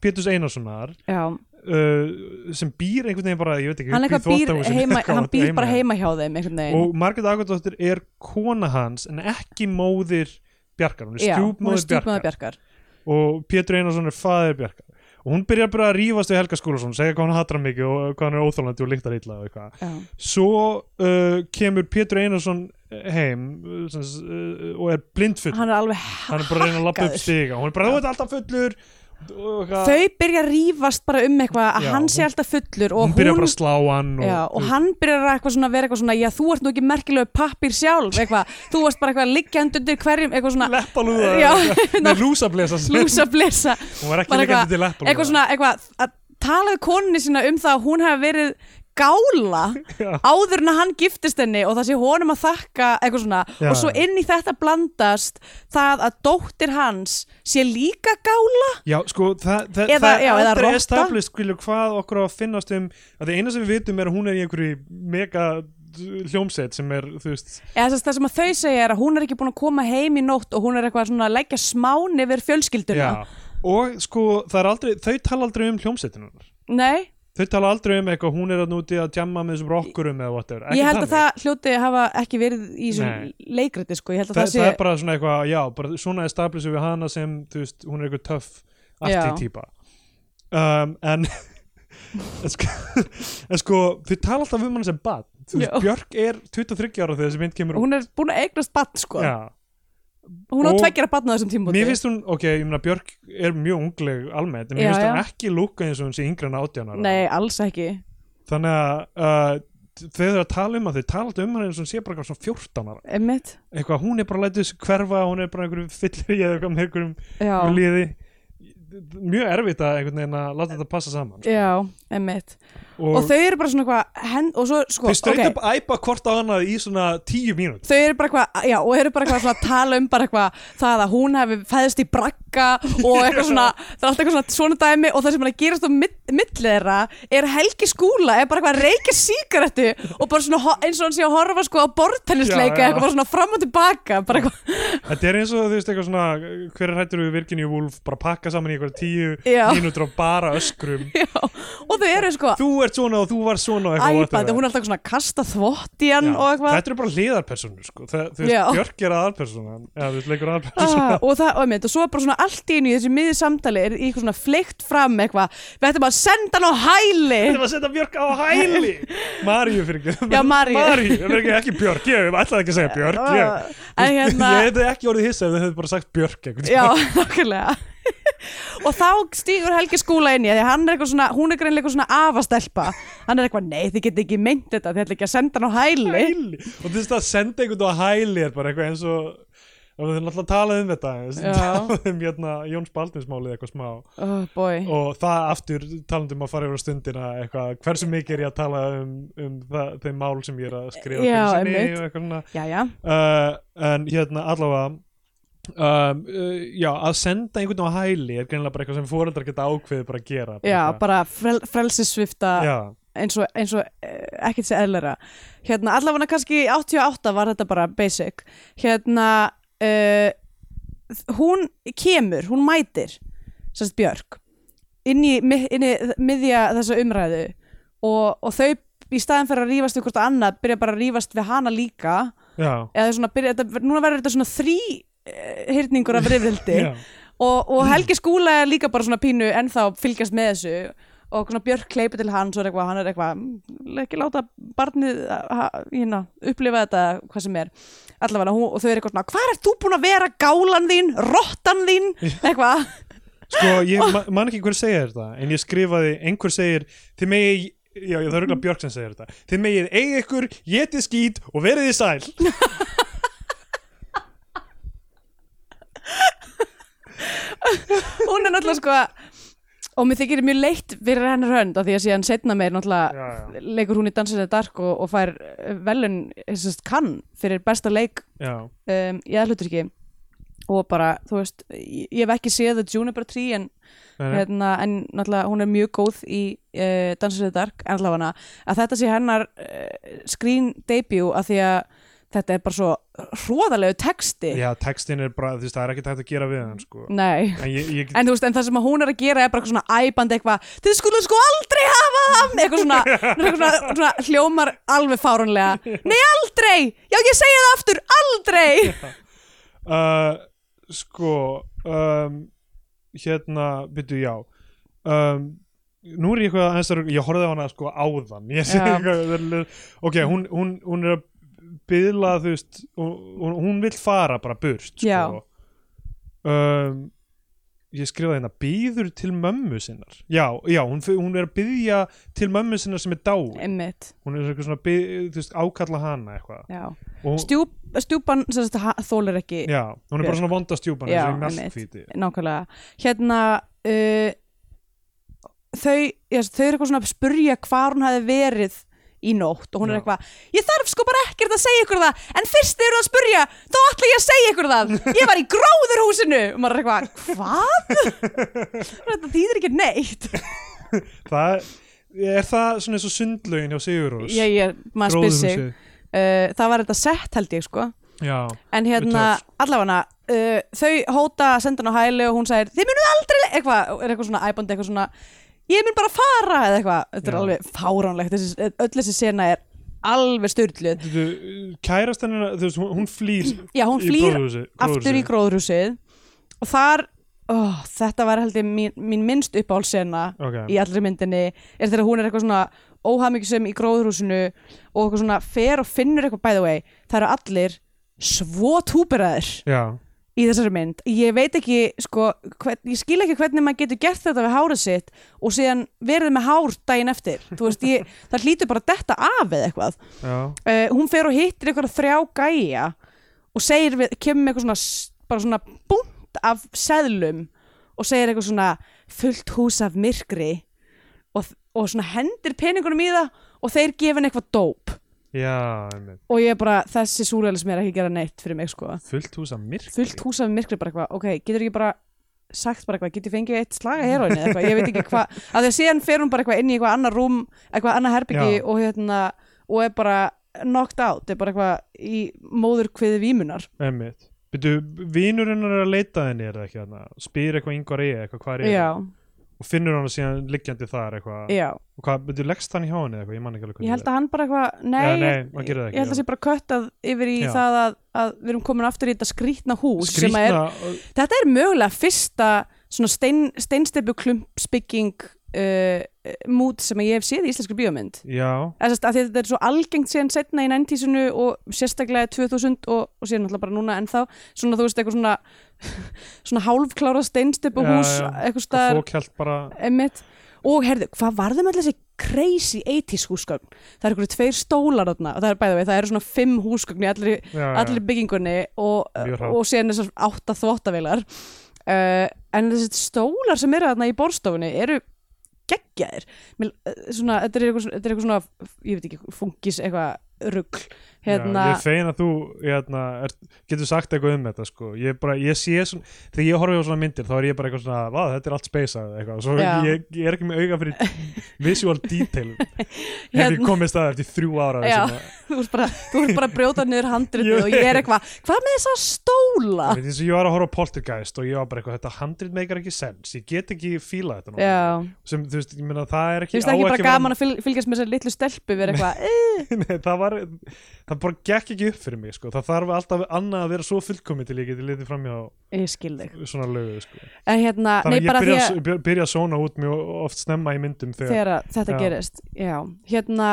S2: Péturs Einarssonar
S3: Já,
S2: uh, sem býr einhvern veginn bara, ég veit ekki
S3: hann
S2: upp í
S3: eitthvað býr,
S2: þvottahúsinu
S3: heima,
S2: eitthvað,
S3: hann býr bara
S2: hjá.
S3: heima hjá þeim einhvern veginn.
S2: og Margrét Akadóttir er kona hans en ekki móðir Bjarkar, hún er
S3: Já, hún er
S2: stjúpmóðir
S3: stjúpmóðir
S2: Bjarkar
S3: Bjarkar.
S2: og Pétur Einarsson er faðir Bjarkar og hún byrjar bara að rífast við Helga Skúlason segja hvað hann hattar hann mikið og hvað hann er óþálandi og líktar illa og eitthvað
S3: Já.
S2: svo uh, kemur Pétur Einarsson heim uh, sem s- uh, og er blindfull
S3: Hann er alveg
S2: hann er bara að reyna að lappa upp
S3: hakkaður.
S2: stiga hún er bara, þú ert alltaf fullur og eitthvað-
S3: þau byrja að rífast bara um eitthvað að
S2: Já,
S3: hann sé
S2: hún-
S3: alltaf fullur og
S2: hún byrjar bara að slá hann og,
S3: já, og hann byrjar að eitthvað svona að vera eitthvað svona já þú ert nú ekki merkilegu pappir sjálf eitthvað, þú varst bara eitthvað að liggja undir hverjum eitthvað svona
S2: leppalúða
S3: Já,
S2: með lúsablesa
S3: lúsa blessa
S2: hún var ekki
S3: bara
S2: líka til leppalúða
S3: eitthvað svona eitthvað að talaði konunni sína um það að hún hefði verið gála
S2: Já.
S3: áður en að hann giftist henni og það sé honum að þakka eitthvað svona
S2: Já.
S3: og svo inn í þetta blandast það að dóttir hans sé líka gála
S2: Já, sko, það, það,
S3: Eða-
S2: það er
S3: já, eða
S2: aldrei
S3: rotta.
S2: established skilur, hvað okkur á að finnast um að það eina sem við vitum er að hún er í einhverju mega hljómsett sem er, þú veist
S3: eða þess að það sem að þau segja er að hún er ekki búin að koma heim í nótt og hún er eitthvað svona að leggja smán yfir fjölskylduna
S2: já. og sko, það er aldrei, þau tala aldrei um hljómsettinu
S3: nei,
S2: þau tala aldrei um eitthvað, hún er að núti að jamma með þessum rockurum eða whatever Ekki
S3: ég held
S2: þannig.
S3: að það hljóti hafa ekki verið í
S2: Nei.
S3: þessum leikriti sko, ég held að
S2: það,
S3: það,
S2: það, er bara svona eitthvað, já, bara svona establishu við hana sem, þú veist, hún er eitthvað töff
S3: Já.
S2: arti típa um, en en sko, en sko, þau tala alltaf um hana sem bad, þú veist,
S3: Já.
S2: Björk er 23 ára þegar þessi mynd kemur
S3: sé hún er búin að eignast bann sko
S2: Já,
S3: hún á
S2: Og-
S3: tveggjara bann á þessum tímúti
S2: mér finnst hún, ok, ég meina Björk er mjög ungleg almennt, en
S3: Já,
S2: mér finnst hún
S3: já.
S2: ekki lúka eins og hún sé yngri en átján ára
S3: nei, alls ekki
S2: þannig að uh, þau eru að tala um að þau tala alltaf um hann eins og hún sé bara eitthvað svona 14 ára
S3: Einmitt.
S2: eitthvað, hún er bara að læta þessu hverfa hún er bara einhverjum fyllir eða eitthvað með einhverjum
S3: Já.
S2: með liði mjög erfitt að einhvern veginn að láta þetta passa saman sko.
S3: Já, emmitt
S2: og,
S3: og, þau eru bara svona eitthvað hen- og svo, sko,
S2: þau streit
S3: ok,
S2: upp æpa hvort á annað í svona tíu mínút
S3: þau eru bara eitthvað já, og eru bara eitthvað svona að tala um bara eitthvað það að hún hefði fæðist í brakka og eitthvað svona, það er alltaf eitthvað svona, svona dæmi og það sem er að gerast á mill- milli þeirra er Helgi Skúla, er bara eitthvað að reykja sígarettu og bara svona ho- eins og hann sé að horfa sko á
S2: Já,
S3: bortennisleika
S2: já.
S3: eitthvað bara svona fram og tilbaka bara eitthvað,
S2: þetta er eins og þú veist eitthvað svona hver er hættur við Virginia Woolf bara pakka saman í eitthvað tíu
S3: Já.
S2: mínútur og bara öskrum
S3: já, og þau eru sko
S2: þú ert svona og þú var svona og
S3: æpandi,
S2: whatever.
S3: hún er alltaf svona að kasta þvott í hann
S2: Já.
S3: og eitthvað
S2: þetta eru bara hliðarpersonur sko. það, þú veist,
S3: Já.
S2: Björk er aðalpersona eða þú veist, leikur aðalpersona
S3: ah, og það, og einmitt, og svo bara svona allt í einu í þessu miði samtali er í eitthvað svona fleikt fram eitthvað, við ættum að senda hann á hæli
S2: Þetta var að setja Björk á hæli Maríu fyrir ekki
S3: Já, Maríu.
S2: Maríu, fyrir ekki, ekki Björk, ég ætlaði ekki að segja Björk
S3: Ah,
S2: ég,
S3: en hérna,
S2: ég hefði ekki orðið hissa ef þau hefðu bara sagt Björk einhvern
S3: já,
S2: tímann.
S3: nákvæmlega og þá stígur Helgi skúla inn í af því að hann er eitthvað svona, hún er greinlega eitthvað svona afastelpa, hann er eitthvað, nei þið geti ekki meint þetta, þið ætla ekki að senda hann á hæli
S2: Hæli Og þú veist að senda einhvern á hæli er bara eitthvað eins og og við erum alltaf að tala um þetta þú veist,
S3: Já.
S2: tala um hérna, Jóns Baldinsmálið eitthvað smá
S3: oh boy,
S2: og það aftur talandum að fara yfir á stundina eitthvað, hversu mikið er ég að tala um, um það, þeim mál sem ég er að skrifa
S3: Já,
S2: hverju sinni
S3: einmitt.
S2: og eitthvað svona
S3: já já
S2: uh, en hérna allavega um, uh, já, að senda einhvern veginn á hæli er greinilega bara eitthvað sem foreldrar geta ákveðið bara að gera bara
S3: já,
S2: eitthvað.
S3: bara frel, frelsissvifta
S2: já,
S3: eins og, eins og eh, ekkert sé eðlera hérna, allavega kannski 88 var þetta bara basic hérna uh, hún kemur, hún mætir sérst Björk inn í, mi- inn í miðja þessa umræðu og, og þau í staðin fyrir að rífast við hvort annað byrja bara að rífast við hana líka
S2: já,
S3: eða svona byrja, þetta, núna verður þetta svona þrý eh, hyrningur af rifrildi
S2: já.
S3: og, og Helgi Skúla er líka bara svona pínu ennþá fylgjast með þessu og svona Björk kleipur til hans og er eitthvað, hann er eitthvað "Mm, ekki láta barnið ha, hérna, upplifa þetta hvað sem er allavega hún, og þau eru eitthvað svona hvað er þú búin að vera gálan þín, rottan þín eitthvað,
S2: sko ég ma man ekki hver segir þetta en ég skrifaði, einhver segir þið megið, já það er auðvitað Björk sem segir þetta þið megið eigi ykkur, getið skýt og verið í sæl
S3: hún er náttúrulega sko og mér þykir mjög leitt fyrir hennar hönd af því að síðan setna meir náttúrulega
S2: já,
S3: leikur hún í Dansinu Dark og, og fær eh, velun kann fyrir besta leik
S2: já,
S3: um, í aðhluturki og bara, þú veist, ég, ég hef ekki séð The Juniper Tree en,
S2: já.
S3: hérna, en náttúrulega hún er mjög góð í uh, Dansur við Dark, en allavega að þetta sé hennar uh, screen debut af því að þetta er bara svo hróðalegu texti
S2: já textin er bara, þú veist það er ekki tægt að gera við hann sko
S3: Nei
S2: en ég, ég
S3: En þú veist, en það sem að hún er að gera er bara eitthvað svona æbandi eitthvað, þið skulum sko aldrei hafa það, eitthvað svona, eitthvað svona, svona hljómar alveg fárunlega, nei aldrei, já ég segja það aftur, aldrei.
S2: uh, sko um, hérna, byrju, já um, nú er ég eitthvað aðeins að ég horfði á hana sko áðan ég sé
S3: Já.
S2: eitthvað, ok, hún, hún, hún er að byðla þú veist, sko. hún, hún- hún vill fara bara burt
S3: Já.
S2: sko. um, ég skrifaði hérna býður til mömmu sinnar já, já, hún, fer- hún er að býðja til mömmu sinnar sem er dáin
S3: einmitt,
S2: hún er eitthvað svona, byð, þú veist, ákalla hana eitthvað
S3: já
S2: og,
S3: Stjúp, stjúpan sem sagt, ha- þolir ekki
S2: já, hún er bara svona vondastjúpan
S3: Já,
S2: þessi
S3: einmitt.
S2: mjallhvíti
S3: nákvæmlega hérna uh, þau, já, þau eru eitthvað svona að spurja hvar hún hafi verið í nótt og hún er
S2: Já.
S3: eitthvað, ég þarf sko bara ekkert að segja ykkur það, en fyrst þið eru að spurja þá ætla ég að segja ykkur það, ég var í gróðurhúsinu og maður er eitthvað, hvað? þetta þýðir ekki neitt
S2: það, er það svona eins og sundlögin hjá Sigurós
S3: ég, ég, maður spyr sig uh, það var þetta sett held ég sko
S2: já,
S3: en hérna,
S2: Töff.
S3: allavega uh, þau hóta að senda hann á hæli og hún segir þið munum aldrei, le-" eitthvað, er eitthvað svona æbandi eitthvað svona, ég mun bara fara eða eitthvað, þetta er
S2: Já.
S3: alveg fáránlegt þessi, öll þessi sena er alveg styrluð
S2: þú, kærast hennar þú veist, hún, hún flýr
S3: já, hún
S2: í
S3: flýr
S2: gróðurhúsi-
S3: aftur í
S2: gróðurhúsið.
S3: gróðrúsið og þar, ó, þetta var held ég mín, mín minnst uppáhaldsena
S2: Ok.
S3: í allri myndinni, er þegar hún er eitthvað svona óhafmyggisum í gróðrúsinu og eitthvað svona fer og finnur eitthvað by the way, það eru allir svo túberaðir
S2: já,
S3: í þessari mynd ég veit ekki, sko, hvern, ég skil ekki hvernig maður getur gert þetta við hárið sitt og síðan verið með hár daginn eftir Þú veist, ég, það hlýtur bara að detta af eða eitthvað
S2: já,
S3: uh, hún fer og hittir eitthvað þrjá gæja og segir við, kemur með eitthvað svona s- bara svona búnt af seðlum og segir eitthvað svona fullt hús af myrkri og, og svona hendir peningunum í það og þeir gefa henni eitthvað dóp
S2: já einmitt.
S3: og ég bara, þessi súrælis mér ekki að gera neitt fyrir mig sko
S2: fullt hús af myrkri
S3: fullt hús af myrkri bara eitthvað, ok, getur ekki bara sagt bara eitthvað, getur fengið eitt slaga heroinni eða eitthvað, ég veit ekki hvað, að því að síðan fer hún bara eitthvað inn í eitthvað annar rúm, eitthvað annar herbyggi
S2: Já.
S3: og hérna, og er bara knocked out, er bara eitthvað í móður kviði vímunar,
S2: Einmitt. Byrju, vinurinn er að leita að henni er það ekki þarna, spyr eitthvað yngvar ég eitthvað hvað er ég
S3: já,
S2: og finnur hann síðan liggjandi þar eitthvað
S3: já
S2: og hvað, byrju, leggst hann í hjá henni eitthvað, ég man ekki alveg
S3: ég held
S2: það
S3: að hann bara eitthvað, nei,
S2: Já, nei,
S3: ég-
S2: hann gerir það ekki,
S3: ég held að
S2: já.
S3: sé bara köttað yfir í
S2: Já.
S3: það að, að við erum komin aftur í þetta skrýtna hús sem að er,
S2: skrýtna,
S3: þetta er mögulega fyrsta svona stein, steinsteipu klumpsbygging uh, mút sem að ég hef séð í íslenskri bíómynd
S2: já,
S3: Þess að þetta er svo algengt síðan setna í 90-sunu og sérstaklega í 2000 og, og síðan alltaf bara núna ennþá svona þú veist eitthvað svona svona hálfklára steinstöpu hús
S2: Já, já.
S3: eitthvað
S2: hvað
S3: staðar
S2: fók held bara
S3: emitt og herðu, hvað varðum allir þessi crazy 80s húsgögn? Það eru eitthvað tveir stólar þarna og það er bæða við, það eru svona fimm húsgögn í allri,
S2: já,
S3: allri byggingunni og,
S2: Ah. Mjög hrátt.
S3: og síðan þessar átta þvottavilar uh, en þessi stólar sem eru þarna í borstofunni eru geggjaðir Mér, eh, svona, þetta, er eitthvað, svona- þetta er eitthvað svona, ég veit ekki, fungis eitthvað rugl hérna,
S2: já, ég er fegin að þú hérna, er, getur sagt eitthvað um þetta sko. ég, bara, ég sé svona, þegar ég horfi á svona myndir þá er ég bara eitthvað svona, "Vá, þetta er allt speysað eitthvað, svo
S3: Já.
S2: ég, ég er ekki með auga fyrir visual detail hef ég
S3: Hérna.
S2: komið stað eftir þrjú ára
S3: Já.
S2: sem að-
S3: þú ert bara, þú ert bara að brjóta niður handrið
S2: Ég
S3: og ég er
S2: veit.
S3: eitthvað, hvað með þessa stóla?
S2: Ég veit eins og ég var að horfa á Poltergeist og ég var bara eitthvað, þetta handrit meikar ekki sens, ég get ekki fíla þetta núna.
S3: Já,
S2: sem þú veist, ég meina það er
S3: þú
S2: ekki
S3: veist ekki bara gaman að fyl- fylgjast með þessari litlu stelpu vera eitthvað, eh,
S2: Nei, það var, það bara gekk ekki upp fyrir mig sko, það þarf alltaf annað að vera svo fullkomið til ég geti litið framhjá
S3: ég skil þig
S2: svona lögu sko.
S3: en hérna, nei
S2: þannig að
S3: bara
S2: ég
S3: því
S2: byrja,
S3: að
S2: að... byrja, byrja að svona út mjög oft snemma í myndum þegar,
S3: þegar að þetta
S2: Já.
S3: gerist já, hérna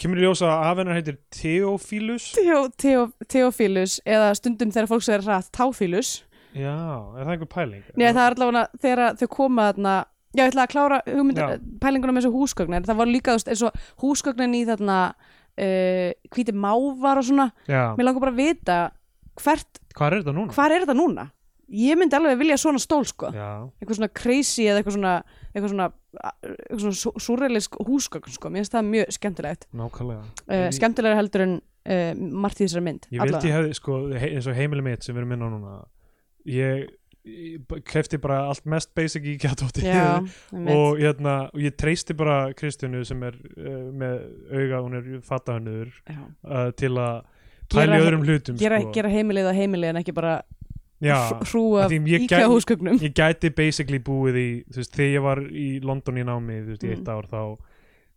S2: kemur í ljós að afhennar heitir Theophilus
S3: Theo- Theo- Theophilus eða stundum þegar fólk segir rætt Táfilus
S2: Já, er það einhver pæling?
S3: Nei, það er allavega þegar að þau koma þarna Já, ég ætla að klára
S2: Já.
S3: hugmyndir, pælingunum eins og húsgögnin Það var líka þú veist, eins og húsgögnin í þarna uh, hvíti mávar og svona
S2: Já,
S3: Mér langar bara að vita hvert,
S2: hvað er þetta núna?
S3: hvar er þetta núna? Ég myndi alveg vilja svona stól sko
S2: Já,
S3: eitthvað svona crazy eða eitthvað svona eitthvað svona, eitthvað svona sú- súrrealisk húsgögn sko, mér finnst það mjög skemmtilegt
S2: nákvæmlega
S3: uh,
S2: Ég-
S3: skemmtilegra heldur en uh, margt í þessari mynd
S2: Ég vildi ég hefði, sko, he- eins og heimili mitt sem við erum inn á núna ég, ég kefti bara allt mest basic í kjátótti
S3: Já,
S2: og, hérna, og ég treysti bara Kristjánu sem er uh, með auga, hún er fattahönnur
S3: já.
S2: uh, til að
S3: Gera-
S2: pæla í öðrum hlutum
S3: Gera,
S2: sko.
S3: gera heimilið að heimilið en ekki bara
S2: Já,
S3: hrúa
S2: af því ég
S3: íkja
S2: gæ-
S3: húsgögnum
S2: ég gæti basically búið í þú veist, þegar ég var í London í námi þú veist, í
S3: Mm.
S2: eitt ár þá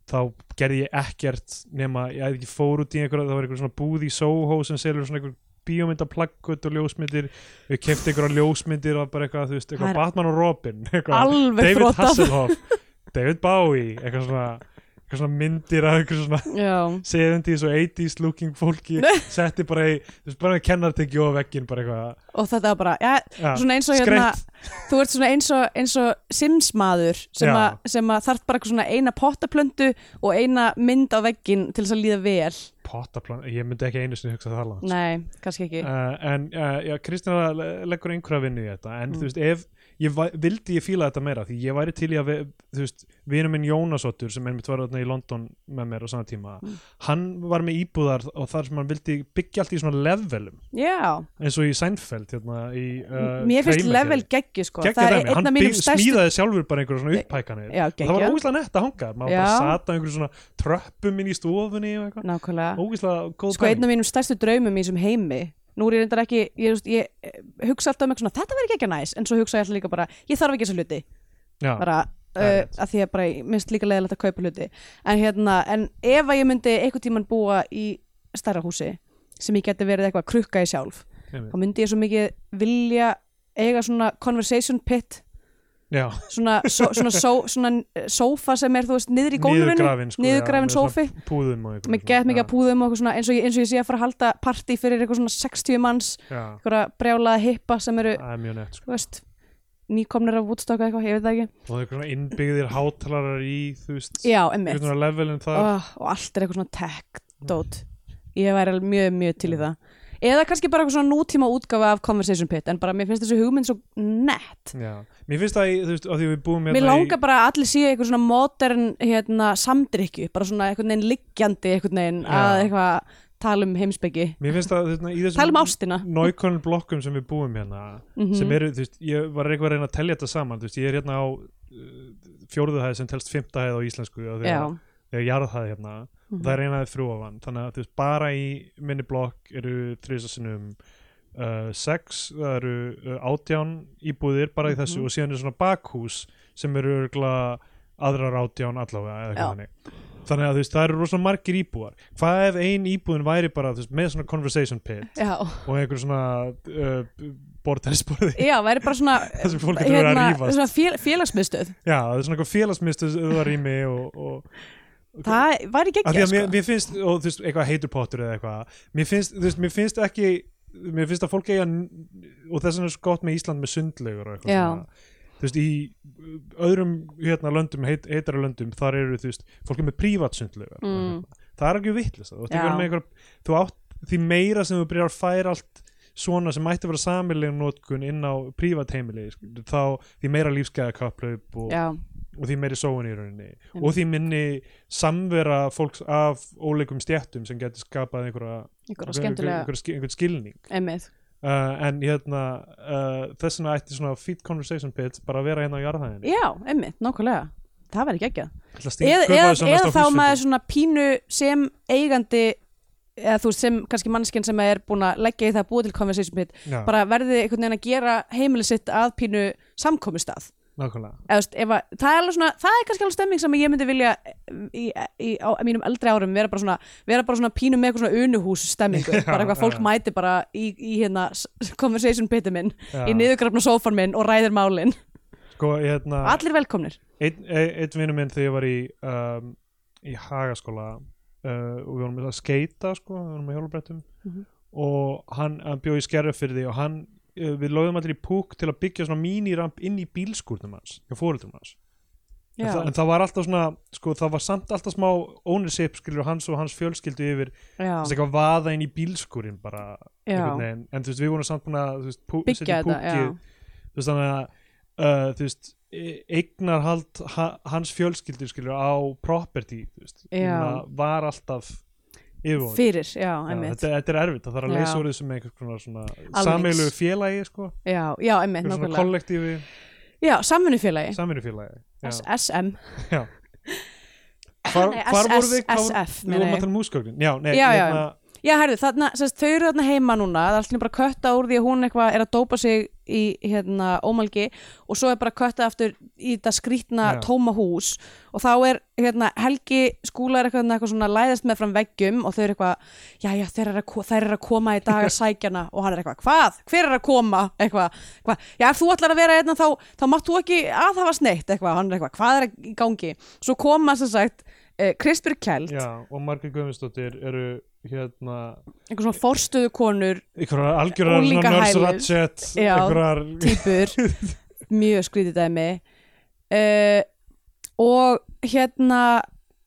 S2: þá gerði ég ekkert nema ég, ég fór út í einhverja, það var einhver svona búð í Soho sem selur svona einhver bíómyndaplakkut og ljósmyndir ég kefti einhverja ljósmyndir og bara eitthvað, þú veist,
S3: Það er-
S2: eitthvað Batman og Robin eitthvað,
S3: alveg
S2: David
S3: þrótað
S2: Hasselhoff David Bowie, eitthvað svona eitthvað svona myndir af einhver svona
S3: Já,
S2: 70s og 80s looking fólki setti bara í, þú veist, bara kennartekju á veggin bara eitthvað
S3: og þetta var bara, ja,
S2: ja,
S3: svona eins og hérna þú ert svona eins og, eins og simsmaður sem,
S2: Já.
S3: að- sem að þarf bara eitthvað svona eina pottaplöntu og eina mynd á veggin til þess að líða vel
S2: Pottaplan, ég myndi ekki einu sinni hugsa það langt sko.
S3: nei, kannski ekki
S2: uh, en uh, já, Kristina le- leggur einhverja vinnu í þetta en
S3: Mm.
S2: þú veist, ef, ég va- vildi ég fíla þetta meira því ég væri til í að, ve- þú veist vinur minn Jónasottur sem einmitt var þarna í London með mér á sama tíma
S3: Mm.
S2: hann var með íbúðar og þar sem hann vildi byggja allt í svona levelum
S3: já,
S2: eins og í Seinfeld hérna, í, uh,
S3: mér finnst
S2: Kramer
S3: level
S2: seríu.
S3: geggju sko
S2: Geggjað
S3: það
S2: dæmi,
S3: er einn
S2: hann
S3: af
S2: bygg,
S3: mínum stærstu
S2: smíðaði sjálfur bara einhverja svona upphækanir
S3: Já,
S2: og það var
S3: geggjað.
S2: ógæslega nett að hanga maður
S3: Já.
S2: bara sata einhverju svona tröppum inn í stofunni og eitthvað
S3: nákvæmlega
S2: ógæslega góð
S3: sko einn
S2: pæling.
S3: af mínum stærstu draumum í þessum heimi nú er ég reyndar ekki, ég, þú veist, ég eh, hugsa alltaf um eitthvað svona, þetta verður ekki ekki næs en svo hugsa ég alltaf líka bara, ég þarf ekki þessa hluti
S2: Já,
S3: bara,
S2: það er
S3: uh,
S2: rétt.
S3: að því að bara ég minnst líka leiðilegt að kaupa hluti en hérna, en ef að ég myndi einhvern tíman búa í stærra húsi sem ég geti verið eitthvað að krukka í sjálf
S2: einmitt.
S3: þá myndi ég svo mikið vilja eiga svona conversation pit
S2: já,
S3: svona, so, svona, so, svona eh, sófa sem er þú veist niður í gólfinu
S2: niðurgrafin sko, já,
S3: niðurgrafinn
S2: með
S3: sófi
S2: svona púðum og einhverju svona,
S3: með gett mikið að
S2: já,
S3: púðum og eitthvað svona eins og, ég, eins og ég sé að fara að halda partí fyrir eitthvað svona 60 manns
S2: já,
S3: eitthvað brjálaða hippa sem eru
S2: það er mjög nett sko.
S3: þú veist, nýkomnir af Woodstock eða eitthvað, ég veit það ekki
S2: og það er svona innbyggðir hátalarar í þú veist,
S3: já, emmitt
S2: einhvern veginn levelin þar
S3: oh, og allt er eitthvað svona tech dót ég væri alveg mjög, mjög til í það eða kannski bara eitthvað svona nútíma útgáfa af Conversation Pit en bara mér finnst þessu hugmynd svo nett
S2: já, mér finnst það, í, þú veist, að því við búum
S3: mér
S2: hérna í-
S3: langar bara að allir séu eitthvað svona modern hérna, samdrykju, bara svona einhvern veginn liggjandi einhvern veginn
S2: Já.
S3: að eitthvað tala um heimsbyggi,
S2: Mér finnst það þarna, í
S3: tala um
S2: þessum
S3: ástina Mhm.
S2: nákvæmum blokkum sem við búum hérna sem eru, þú veist, ég var eitthvað að reyna að telja þetta saman, þú veist, ég er hérna á uh, fjórðu hæð sem telst fimmta hæð á íslensku af því
S3: já,
S2: að- þegar jarðhæð hérna
S3: Mhm.
S2: og það er eina einaðið þrjú ofan þannig að þú veist, bara í minni blokk eru þrísasinum uh, sex, það eru uh, átján íbúðir bara í
S3: Mhm.
S2: þessu og síðan er svona bakhús sem eru örgla aðrar átján allavega eða
S3: Já.
S2: eitthvað þannig þannig að þú veist, það eru rosa margir íbúar hvað ef ein íbúðin væri bara þú veist, með svona conversation pit
S3: já,
S2: og einhver svona uh, borðtæðisborði
S3: já, væri bara svona hérna,
S2: þar sem fólk getur verið að rífast
S3: svona fél, félagsmiðstöð
S2: já, það er svona eitthvað félagsmistu öðarými og, og
S3: það væri
S2: Af því
S3: geggja
S2: að
S3: sko.
S2: mér, mér finnst, og þú veist, eitthvað heitur pottur eða eitthvað, mér finnst, þú veist, mér finnst ekki, mér finnst að fólk eiga, og þess vegna er svo gott með Ísland með sundlegur og eitthvað
S3: Já.
S2: svona, þú veist, í öðrum, hérna, löndum, heit, heitara löndum, þar eru, þú veist, fólk er með prívat sundlegur,
S3: Mm.
S2: það er ekki vittlust, þú veist,
S3: Já.
S2: ekki verið með einhver, þú átt, því meira sem þú byrjar að færa allt svona sem mætti að vera samilegum notkun inn á prívat heimili, skilur, þá því meira lífsgæða og
S3: já,
S2: og því meiri sóun í rauninni og því minni samvera fólks af óleikum stjættum sem getur skapað einhverja,
S3: ykkur og skemmtilega
S2: einhver, einhver skilning
S3: emmið,
S2: uh, en hérna uh, þess vegna ætti svona feed conversation pit bara að vera hérna á jarðhæðinni
S3: já, emmið, nákvæmlega það væri geggjað
S2: Ætla að stinga-
S3: eða,
S2: kaupa þessu næst
S3: eða,
S2: á
S3: eða þá
S2: húsfundi.
S3: maður svona pínu sem eigandi eða þú veist, sem kannski mannskinn sem er búin að leggja í það að búa til conversation pit
S2: Já,
S3: bara verði einhvern veginn að gera heimili sitt að pínu samkomustað
S2: nákvæmlega
S3: eða, þú veist, ef að, það, er alveg svona, það er kannski alveg stemming sem ég myndi vilja í, í, á mínum eldri árum vera bara svona, vera bara svona pínu með eitthvað svona unuhús stemmingu bara eitthvað fólk
S2: já.
S3: mæti bara í, í hérna s- conversation pitu minn
S2: Já.
S3: í niðurgrafna sófan minn og ræðir málin
S2: sko, hérna,
S3: allir velkomnir
S2: einn ein, ein vinnu minn þegar ég var í um, í hagaskóla uh, og við vorum að skeita sko, við vorum að hjólabrettum
S3: Mhm.
S2: og hann, hann bjóði í skerjafyrði og hann uh, við lögðum allir í púk til að byggja svona míniramp inn í bílskúrnum hans hjá fóreldrum hans en, það- en það var alltaf svona, sko, það var samt alltaf smá ownership skilur hans og hans fjölskyldu yfir
S3: já,
S2: þess eitthvað vaða inn í bílskúrin bara einhvern
S3: já,
S2: veginn, en þú veist, við vorum samt búin að þú veist, pú,
S3: Byggja
S2: setja í
S3: þetta, já.
S2: þú veist, þannig að uh, þú veist, eignarhald ha, hans fjölskyldur skilur á property, þú veist,
S3: Já.
S2: Þannig að var alltaf yfirvóð
S3: fyrir, já, einmitt
S2: þetta, þetta er erfitt, það þarf að
S3: Já.
S2: leysa úr þessu með einhvers konar svona
S3: Almennings.
S2: sameilu félagi sko,
S3: Já, já, einmitt,
S2: einhver svona
S3: nákvæmlega
S2: kollektífi
S3: Já, samvinnufélagi,
S2: sameilu félagi
S3: S- SM
S2: Já. Hvar,
S3: Nei,
S2: hvar voru við?
S3: SS,
S2: Hvað voru-
S3: SF,
S2: Við
S3: meina
S2: vorum
S3: ég.
S2: að tala um húsgögnin Já, nei,
S3: Já, já.
S2: hérna,
S3: Já, herðu, þarna, sérst, þau eru þarna heima núna það er allir bara kötta úr því að hún eitthvað er að dópa sig í hérna ómalgi og svo er bara kötta aftur í þetta skrýtna
S2: Já.
S3: tóma hús og þá er hérna Helgi skúlar eitthvað, eitthvað svona læðast með fram veggjum og þau eru eitthvað, já, já, þær eru að, ko- þær eru að koma í dag að sækja hana og hann er eitthvað, hvað? Hver er að koma? Eitthvað, eitthvað já, ef þú ætlar að vera hérna þá, þá mátt þú ekki aðhafast neitt eitthvað, hann er eitthvað, hvað er í gangi? Svo koma sem sagt, eh, Krispir Kjeld,
S2: já, og Margrét Guðmundsdóttir eru hérna
S3: einhver svona forstöðukonur
S2: einhverjar algjörar
S3: Unglingahælir.
S2: nörsratchet
S3: Já.
S2: einhverjar
S3: típur mjög skrítið dæmi uh, og hérna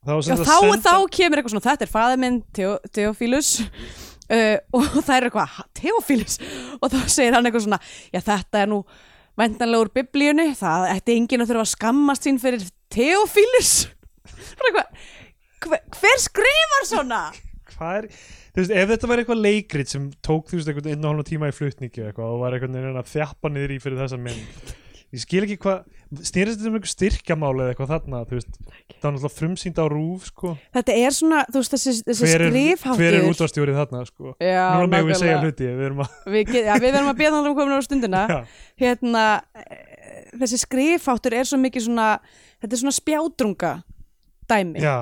S2: þá,
S3: já, þá, þá kemur eitthvað svona þetta er faðið minn, Theo, Theophilus uh, og það er eitthvað "Ha, Theophilus og þá segir hann eitthvað svona já þetta er nú væntanlega úr biblíunni, það ætti enginn að þurfa að skammast sín fyrir Theophilus bara eitthvað hver, hver skrifar svona?
S2: hvað er þú veist, ef þetta var eitthvað leikrit sem tók þú veist einhvern einn og hálfa tíma í flutningi og eitthvað og var einhvern veginn að þjappa niður í fyrir þessa mynd ég skil ekki hvað snýrist þetta um einhver styrkjamáli eða eitthvað þarna þú veist, það var náttúrulega frumsýnd á rúf sko.
S3: Þetta er svona, þú veist, þessi, þessi
S2: hver er,
S3: skrifháttur
S2: hver er útvarstjórið þarna sko.
S3: Já,
S2: núna megum við segja
S3: nákvæmlega.
S2: hluti við erum að,
S3: Við, get, ja, við verðum að beða hann um komin á stundina
S2: já,
S3: hérna eh, þessi skrifháttur er svo mikið svona þetta er svona spjátrunga dæmi
S2: já,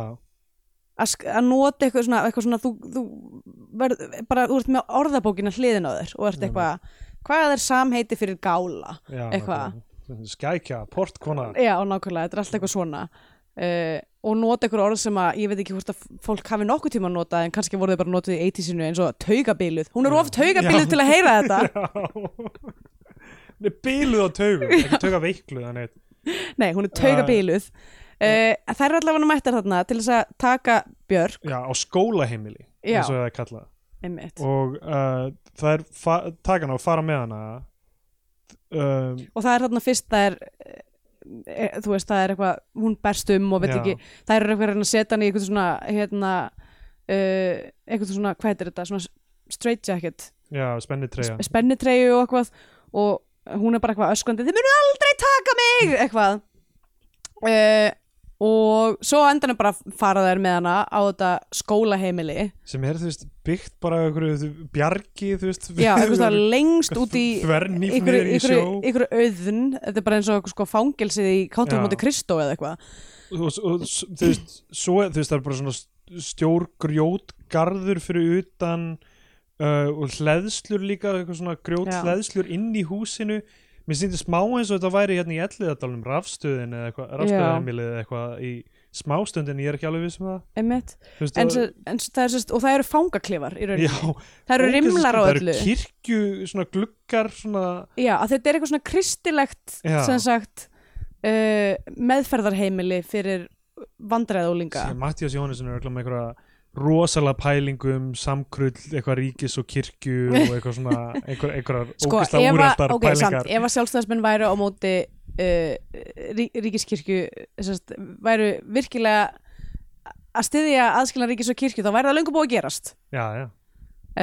S3: að, sk- að nota eitthvað svona, eitthvað svona þú, þú verð, bara, þú ert með orðabókina hliðin á þér og ert eitthvað hvað er samheiti fyrir gála
S2: já
S3: Eitthvað.
S2: nákvæmlega. skækja, portkona
S3: já, nákvæmlega, þetta er allt eitthvað svona uh, og nota eitthvað orð sem að ég veit ekki hvort að fólk hafi nokkuð tíma að nota en kannski voru þau bara notið í 80-sinu eins og taugabiluð, hún er of taugabiluð
S2: Já.
S3: til að heyra þetta
S2: já Nei, bíluð á taugum, ekki tauga veikluð þannig að-
S3: Nei, hún er taugabiluð uh, Það er allavega mættar þarna til þess að taka Björk
S2: já, á skólaheimili
S3: Já.
S2: eins og það er kallað
S3: einmitt. og,
S2: og uh, það er fa- taka hana og fara með hana um,
S3: það er þarna fyrst það er e, þú veist, það er eitthvað hún berst um og veit
S2: Já.
S3: ekki það er eitthvað að reyna að setja hann í eitthvað svona hérna, uh, eitthvað svona, hvað heitir þetta svona straight jacket,
S2: já, spennið treyja
S3: spennitreyju og eitthvað og hún er bara eitthvað öskrandi þið munum aldrei taka mig eitthvað uh, og svo á endanum bara fara þær með hana á þetta skólaheimili
S2: sem er þú veist byggt bara á einhverju þú- bjargi þú veist
S3: Já, einhvers vegar lengst út í
S2: þvernýf
S3: einhverju
S2: niður í
S3: einhverju-
S2: sjó.
S3: einhverju auðn Þetta er bara eins og sko, fangelsið í Kántum
S2: Já.
S3: móti Kristó eða eitthvað
S2: og, og, og s- þú veist, svo, er- þú veist það er bara svona stjórgrjótgarður fyrir utan uh, og hleðslur líka eitthvað svona grjót
S3: Já.
S2: hleðslur inn í húsinu mér sýndi smá eins og þetta væri hérna í elliðadalunum rafstöðin eða eitthvað rafstöðamilið eða eitthvað í smástundin ég er ekki alveg viss um það
S3: Einmitt.
S2: Þú veist,
S3: En,
S2: og-
S3: svo, en svo, það er, svo, og það eru fangaklefar í rauninni,
S2: Já,
S3: það eru
S2: Ógeðslega
S3: rimlar á
S2: skrítið. Það
S3: öllu
S2: eru kirkju, svona gluggar svona,
S3: Já, að þetta er eitthvað svona kristilegt
S2: Já.
S3: sem sagt uh, meðferðarheimili fyrir vandræðólinga
S2: Mattias Jónesson er örugglega með einhverja rosalega pælingu um samkrull, eitthvað ríkis og kirkju og eitthvað svona, einhver, einhverjar
S3: Sko,
S2: ógeðslega
S3: ef að,
S2: úreltar
S3: ok, samt,
S2: pælingar
S3: ef að sjálfstæðismenn væru á móti uh, rí, ríkiskirkju sérst, væru virkilega að styðja aðskilna ríkis og kirkju þá væri það löngu búið að gerast
S2: Já, já,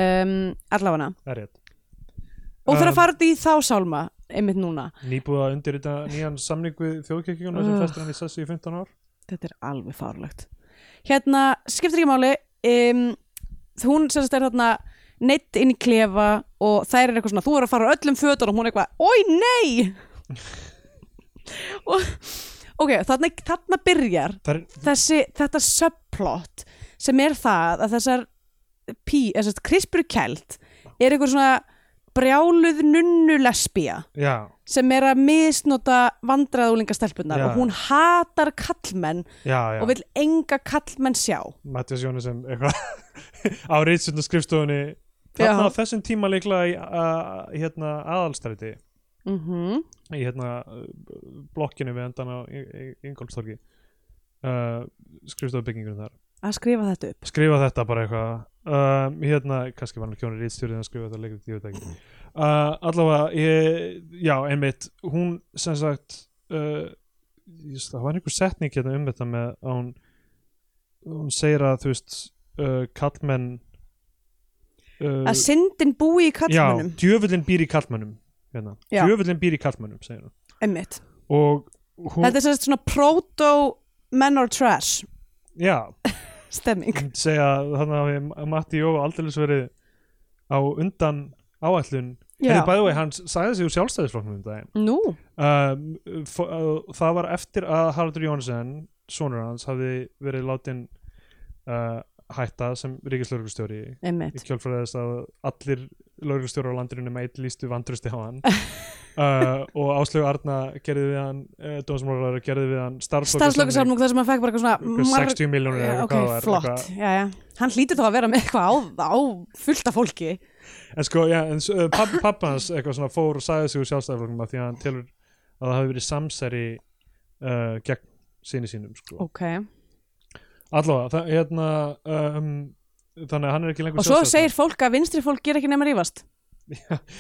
S3: um, allafana
S2: það er rétt
S3: og þurfa
S2: Um,
S3: að fara út í þá sálma einmitt núna,
S2: Nýbúið að undirrita nýjan samning við þjóðkirkjuna sem
S3: Ugh.
S2: festir hann í sessi í 15 ár
S3: þetta er alveg farlegt hérna, skiptir ekki máli um, hún sérst er þarna neitt inn í klefa og þær er eitthvað svona, þú er að fara á öllum fötur og hún er eitthvað, oi nei og ok, þarna, þarna byrjar
S2: Það er,
S3: þessi, þetta subplot sem er það að þessar pí, þessar krispur kælt er einhver svona brjáluð nunnu lesbía
S2: já,
S3: sem er að misnota vandræðúlinga stelpunar
S2: Já.
S3: og hún hatar kallmenn
S2: já, já
S3: og vill enga kallmenn sjá
S2: Mattias Jónesson, eitthvað á reitsund og skrifstofunni
S3: Já.
S2: Þarna á þessum tíma líklega í uh, hérna aðalstræti
S3: mm -hmm.
S2: í hérna uh, blokkinu við endan á Ingolstorgi uh, skrifstofbyggingunum þar
S3: að skrifa þetta upp
S2: skrifa þetta bara eitthvað um, hérna, kannski var hann kjónir rítstjórið að skrifa þetta leikrit, ég veit það ekki uh, allavega, ég, já, einmitt hún sem sagt uh, just, það var einhver setning hérna um þetta með að hún hún segir að þú veist uh, kallmenn uh,
S3: að syndin búi í
S2: já,
S3: kallmennum
S2: djöfullin býr í kallmennum hérna.
S3: Já.
S2: djöfullin býr í kallmennum, segir hún
S3: einmitt,
S2: og hún,
S3: þetta er sérst svona proto men or trash
S2: já,
S3: stemming
S2: myndi segja að þannig að við- Matti Jó aldrei verið á undan áætlun
S3: Já.
S2: Hefði bæði vegi, hann sagði sig úr sjálfstæðisflokknum um daginn
S3: nú,
S2: um, f- uh, það var eftir að Haraldur Jónsson sonur hans hafði verið látin uh, hætta sem ríkislörgustjóri í
S3: einmitt
S2: kjölfræðis að allir lögreglustjórar á landinu með eitt lístu vandrusti á hann uh, og Áslögu Arna gerði við hann uh, dómsmálarar gerði við hann starfslokkasamning
S3: starfslökusamnúk þar sem hann fekk bara eitthvað svona marg-
S2: 60 miljónur
S3: Já,
S2: eða
S3: ok,
S2: hvað það var, eitthvað-
S3: flott, já, já. hann hlýtur þá að vera með eitthvað á, á fullta fólki
S2: eh, En sko, já, en s- uh, papp, pappa hans eitthvað svona fór og sagði sig úr sjálfstæðarflokknum að því að hann telur að það hafi verið samsæri uh, gegn sinni sínum sko.
S3: ok
S2: allavega, það, hérna um, þannig að hann er ekki lengur
S3: og svo
S2: sjálfstæðismaður.
S3: segir fólk að vinstri fólk ger ekki nema rífast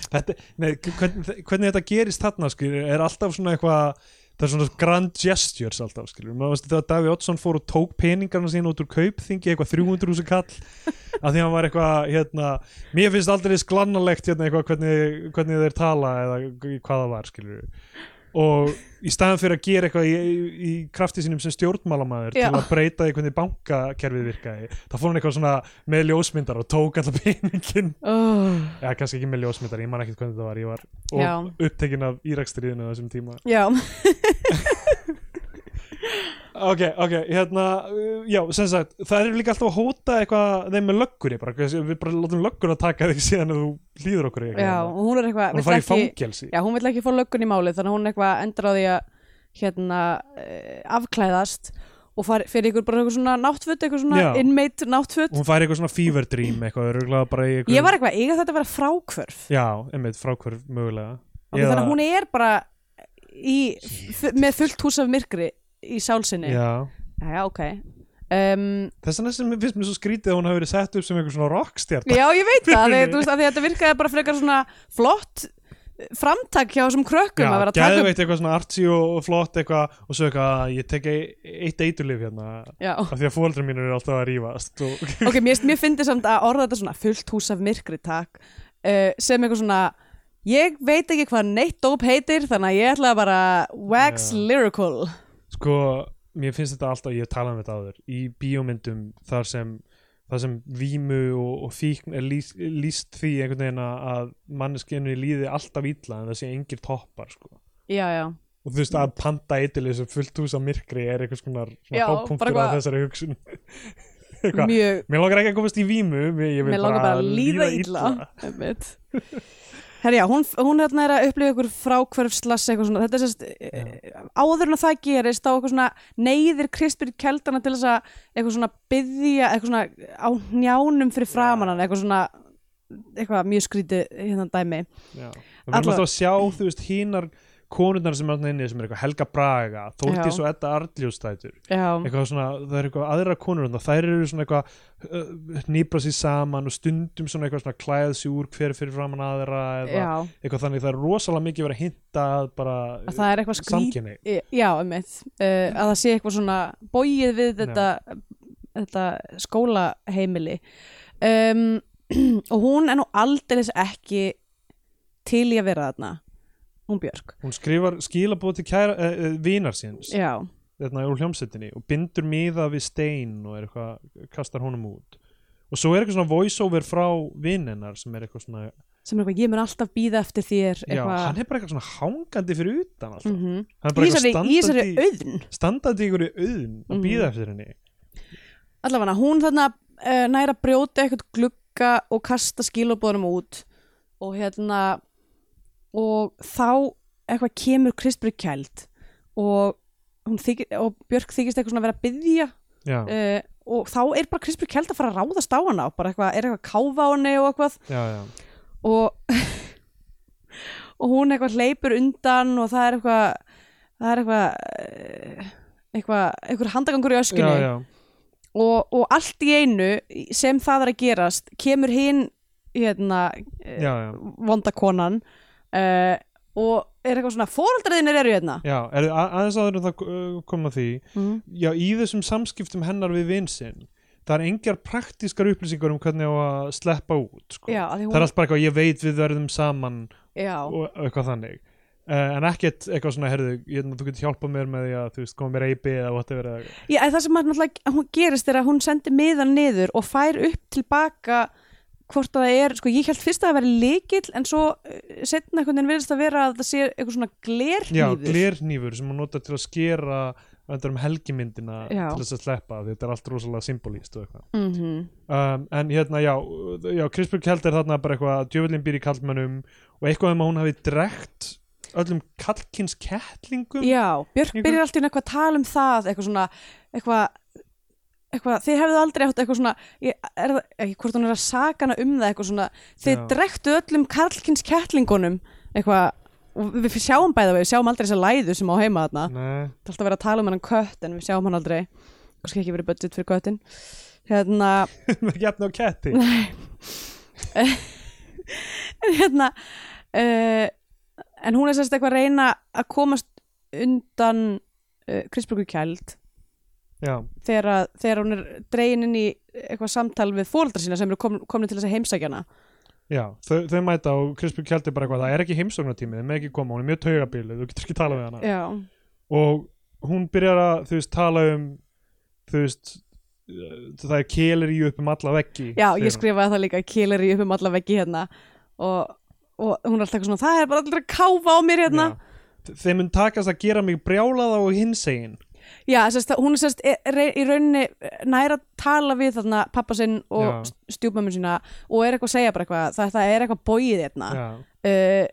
S2: þetta, nei, hvernig, hvernig þetta gerist þarna skilur, er alltaf svona eitthvað það er svona grand gestures alltaf skilur maður veist þetta að Daví Oddsson fór og tók peningarna sína út úr kaupþingi, eitthvað 300.000 kall af því hann var eitthvað hérna, mér finnst aldrei sklannalegt hérna, eitthvað, hvernig, hvernig þeir tala eða hvað það var skilur og í staðan fyrir að gera eitthvað í, í krafti sínum sem stjórnmálamæður
S3: Já.
S2: til að breyta í hvernig bankakerfið virkaði þá fór hann eitthvað svona með ljósmyndar og tók alltaf peningin
S3: oh.
S2: Já, kannski ekki með ljósmyndar, ég man ekkert hvernig það var Ég var og
S3: Já.
S2: upptekinn af Írakstriðinu á þessum tíma
S3: já,
S2: Ok, ok, hérna, uh, já, sem sagt Það er líka alltaf að hóta eitthvað þeim með löggur bara, hvers- Við bara látum löggur að taka þig síðan ef þú hlýður okkur í eitthvað hérna.
S3: já, og hún er eitthvað
S2: Hún
S3: vill
S2: fær í
S3: ekki-
S2: fangelsi
S3: já, hún vill ekki fá löggun í málið þannig að hún eitthvað endur á því að hérna, eh, afklæðast og far, fyrir ykkur bara eitthvað svona náttföt eitthvað svona
S2: Já.
S3: inmate náttföt
S2: Hún fær eitthvað svona fever dream eitthvað, örugglega bara í eitthvað
S3: ég var eitthvað, eiga þetta að vera frákvörf
S2: Já, einmitt, frákvör mögulega
S3: okay, þannig að hún er bara í, f- með fullt hús af myrkri í sálsinni
S2: Já,
S3: já, ok um,
S2: þess vegna sem finnst mér svo skrítið að hún hafi verið sett upp sem eitthvað svona rockstjart
S3: já, ég veit það
S2: Fyrir
S3: þegar,
S2: mig.
S3: þú veist, að því þetta virkaði bara frekar svona flott framtak hjá þessum krökkum að vera að taka upp
S2: geðveikt eitthvað svona artsy og og flott eitthvað og svo eitthvað, ég tek eitt eiturlif hérna
S3: já.
S2: af því að fóreldrar mínir eru alltaf að rífast og
S3: ok, mér, mér fyndi samt að orða þetta svona fullt hús af myrkri takk uh, sem eitthvað svona ég veit ekki hvað neitt dóp heitir þannig að ég ætla að bara wax
S2: Já.
S3: lyrical
S2: sko, mér finnst þetta alltaf ég hef talað um þetta áður, í bíómyndum þar sem, þar sem vímu og, og fíkn er lýst, lýst því einhvern veginn að- að manneskinu líði alltaf illa en það sé engir toppar sko.
S3: já, já,
S2: og þú veist að panta eitilið sem fullt hús af myrkri er eitthvað svona
S3: Já,
S2: hápunktur
S3: bara
S2: að
S3: hvað-
S2: þessari hugsun eitthvað,
S3: mjög
S2: mér langar ekki að komast í vímu mér, ég vil
S3: Mér langar bara að líða illa Einmitt. Herja, hún, hún hérna er að upplifa ykkur frákvörfslass eitthvað svona, þetta er sérst eh, áður en að það gerist á eitthvað svona neyðir krispir keldana til þess að eitthvað svona byðja, eitthvað svona á njánum fyrir framanan, eitthvað svona eitthvað mjög skrítið hérna dæmi
S2: Já. og við erum
S3: Alla-
S2: alltaf að sjá þú veist hínar konurnar sem er alltaf inni sem er eitthvað Helga Braga, Þórdís
S3: Já.
S2: og Edda Arljóstætur
S3: Já,
S2: eitthvað svona, það er eitthvað aðra konur þarna, þær eru svona eitthvað nýbra sér saman og stundum svona eitthvað svona klæð sér úr hver fyrir framann aðra eða
S3: já,
S2: eitthvað þannig, það er rosalega mikið verið að hinta að bara uh,
S3: að það er eitthvað skrítið
S2: samkynni
S3: Já, einmitt, uh, að það sé eitthvað svona bóið við þetta, þetta skólaheimili um, og hún er nú aldeilis ekki til í að vera þarna hún Björk
S2: hún skrifar skilabóð til kæra, eh, eh, vinar síns
S3: Já,
S2: þarna úr hljómsettinni og bindur miða við stein og er eitthvað, kastar honum út og svo er eitthvað svona voiceover frá vinninnar sem er eitthvað svona
S3: sem er eitthvað, ég mun alltaf býða eftir þér
S2: Já, hann
S3: eitthvað
S2: er bara eitthvað svona hangandi fyrir utan alltaf.
S3: mm -hmm.
S2: Hann er bara
S3: Ísari,
S2: eitthvað
S3: Ísari
S2: standandi,
S3: auðn
S2: standandi ykkur í auðn og
S3: Mhm.
S2: býða eftir henni.
S3: allavega hún þarna uh, næra brjóta eitthvað glugga og kasta skilabóðum út og hérna og þá eitthvað kemur Kristbjörg kæld og, hún þykir, og Björk þykist eitthvað svona að vera að byðja
S2: Já,
S3: uh, og þá er bara Kristbjörg kæld að fara að ráðast á hana og bara eitthvað, er eitthvað að káfa á henni og eitthvað
S2: já, já.
S3: og, og hún eitthvað hleypur undan og það er eitthvað það er eitthvað eh, eitthvað, eitthvað handagangur í öskunni
S2: já, já.
S3: og, og allt í einu sem það er að gerast kemur hinn hérna, eh,
S2: Já, já.
S3: vondakonan uh, og er eitthvað svona fóraldriðinir eru hérna
S2: Já, er, a- aðeins áður en það uh, koma því
S3: mm.
S2: Já, í þessum samskiptum hennar við vinsinn það er engjar praktískar upplýsingar um hvernig á að sleppa út sko.
S3: já, af því
S2: það er
S3: hún,
S2: allt bara eitthvað, ég veit við verðum saman
S3: já,
S2: og og eitthvað þannig uh, en ekkert eitthvað svona, herðu, ég, þú getur hjálpað mér með því að þú veist, koma mér eipi eða whatever eða
S3: já, en það sem að náttúrulega hún gerist er að hún sendir miðan niður og fær upp tilbaka hvort að það er, sko ég held fyrst að það veri lykill en svo setna einhvern veginn virðist að vera að það sé eitthvað svona
S2: Já,
S3: glerhýður
S2: glernýfur sem hún notar til að skera öndar um helgimyndina
S3: Já.
S2: til þess að sleppa því þetta er allt rosalega symbolíst og eitthvað
S3: Mhm.
S2: um, en hérna, já, já Krispjörg held er þarna bara eitthvað að djöfullin býr í kallmönnum og eitthvað um að hún hafi drekt öllum kallkins kettlingum
S3: Já, Björk
S2: Einhver-
S3: byrjar alltaf eitthvað að tala um það eitthvað svona, eitthvað eitthvað, þið hefðu aldrei átt eitthvað svona ég, er það, ekki hvort hún er að sakana um það eitthvað svona, þið
S2: Já.
S3: drektu öllum karlkins kettlingunum eitthvað, og við sjáum bæða við sjáum aldrei þessa læðu sem á heima þarna
S2: Nei.
S3: það er alltaf verið að tala um hennan kött en við sjáum hann aldrei og skil ekki verið budget fyrir köttin hérna,
S2: Með jafn á ketti
S3: hérna uh, en hún er sérst eitthvað að reyna að komast undan uh, Kristbruku kæld
S2: Já,
S3: þegar, að- þegar hún er dregin inn í eitthvað samtal við fóreldra sína sem eru kom, komin til þess að heimsækja hana
S2: já, þau, þau mæta og Krispjör Kjaldi bara eitthvað, það er ekki heimsóknartími þau með ekki koma, hún er mjög taugabilið, þú getur ekki talað við hana
S3: já,
S2: og hún byrjar að, þú veist, tala um þú veist uh, það er kelir í upp um alla veggi
S3: já
S2: segir
S3: ég
S2: hún.
S3: skrifaði það líka kýlar í upp um alla veggi hérna og, og hún er alltaf eitthvað svona það er bara allir að káfa á mér hérna
S2: Já. Þe- Þeim mun takast að gera mig brjálaða og hinsegin
S3: Já, sérst, hún er sérst e- re- í rauninni næra að tala við þarna pappa sinn
S2: Já.
S3: og stjúpmömmu sína og er eitthvað að segja bara eitthvað, það, það er eitthvað bóið hérna
S2: Já,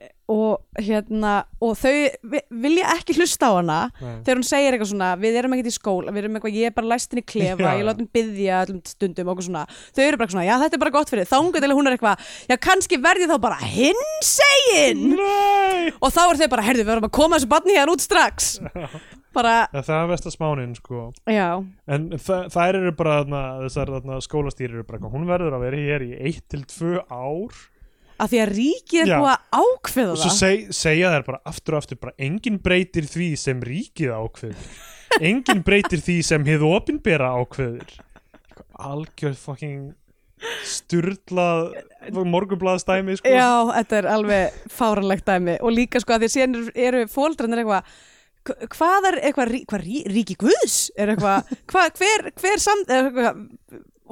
S3: uh, og hérna og þau vi- vilja ekki hlusta á hana
S2: Nei.
S3: þegar hún segir eitthvað svona, við erum ekkert í skóla við erum eitthvað, ég er bara læst inn í klefa
S2: Já,
S3: ég
S2: já.
S3: látum byggja allum stundum og eitthvað svona þau eru bara eitthvað svona, já þetta er bara gott fyrir þangu til að hún er eitthvað, já kannski verði þá bara hinsegin
S2: Nei!
S3: og þá er þau bara, herðu, við verðum að koma þessu barni hérna út strax bara,
S2: Það það er vest að smánin sko
S3: já
S2: En þa- þær eru bara þarna, þessar þarna, skólastýrir eru bara eitthvað, hún verður að vera hér í eitt til tvö ár
S3: að því að ríkið er
S2: Já.
S3: búið að ákveða
S2: og svo
S3: það
S2: seg, segja þær bara aftur og aftur bara enginn breytir því sem ríkið ákveður enginn breytir því sem hið opinbera ákveður algjörð fucking sturlað morgunblaðstæmi sko
S3: já, þetta er alveg fáranlegt dæmi og líka sko að því að síðan eru, eru fóldrandir eitthvað hva- hvað er eitthvað, rí- hvað rí, ríki guðs er eitthvað, hvað, hver, hver sam, er eitthvað,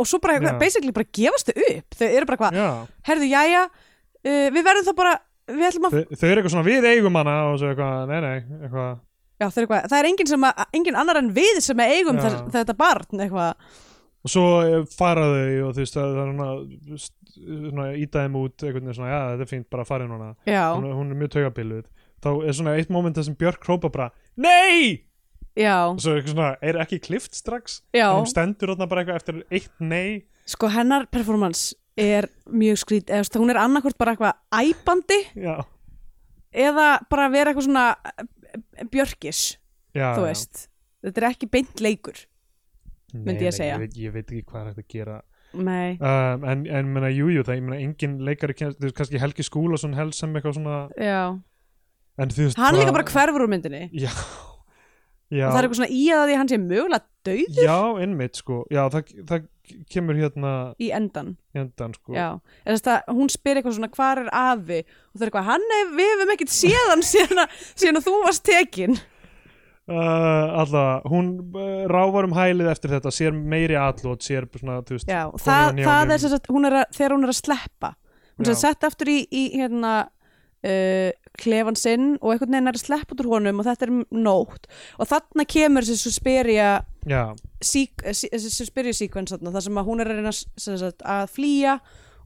S3: og svo bara
S2: Já.
S3: eitthvað, basically bara gefast þau upp, þau eru bara eitthvað
S2: Já.
S3: herðu, jæja, uh, við verðum þá bara við ætlum að,
S2: Þau, þau eru eitthvað svona við eigum hana og svo eitthvað, nei nei eitthvað.
S3: já, þau eru eitthvað, það er engin sem að, engin annar en við sem að eigum
S2: Já.
S3: þess, þetta barn, eitthvað,
S2: og svo eh, fara þau og þú veist það er svona, st- svona ídæðum út einhvern veginn svona, já þetta er fínt bara að fara inn hana
S3: já,
S2: hún, hún er mjög taugabilið þá er svona eitt moment þar sem Björk hrópa bara nei
S3: já
S2: og svo er eitthvað svona, er ekki klift strax
S3: Já.
S2: En hún stendur þarna bara eitthvað eftir eitt nei
S3: sko hennar performance er mjög skrít, eða þú veist, hún er annarkvort bara eitthvað æpandi
S2: já,
S3: eða bara vera eitthvað svona eh, björkis,
S2: já já.
S3: þú veist þetta er ekki beint leikur
S2: Nei,
S3: myndi ég
S2: nei,
S3: segja.
S2: ég veit, ég veit ekki hvað er hægt að gera
S3: nei,
S2: um, en, en menna, jú, jú, það ég meina engin leikari kemst, þú veist, kannski Helgi Skúlason helst sem eitthvað svona,
S3: já
S2: en þú veist
S3: hann líka bara hverfur úr myndinni
S2: já, já
S3: og það er eitthvað svona í að því að hann sé mögulega döið
S2: já, einmitt, sko, já, það, það kemur hérna
S3: í endan,
S2: í endan, sko
S3: já en þess að hún spyr eitthvað svona hvar er afi og það er eitthvað, hann hef, við hefum ekkert séðan síðan að, síðan að þú varst tekin
S2: Uh, alla, hún uh, ráfar um hælið eftir þetta, sér meiri atlót sér svona, þú veist,
S3: já,
S2: konur á
S3: það, það
S2: hnjánum.
S3: er sem sagt, hún er að, þegar hún er að sleppa hún
S2: Já.
S3: er sem sagt sett aftur í, í hérna uh, klefan sinn og einhvern veginn er að sleppa út úr honum og þetta er um nótt og þarna kemur þessi Suspiria
S2: já,
S3: sík, eh, sí- þessi Suspiria sequence þarna, þar sem að hún er að reyna s- sem sagt, að flýja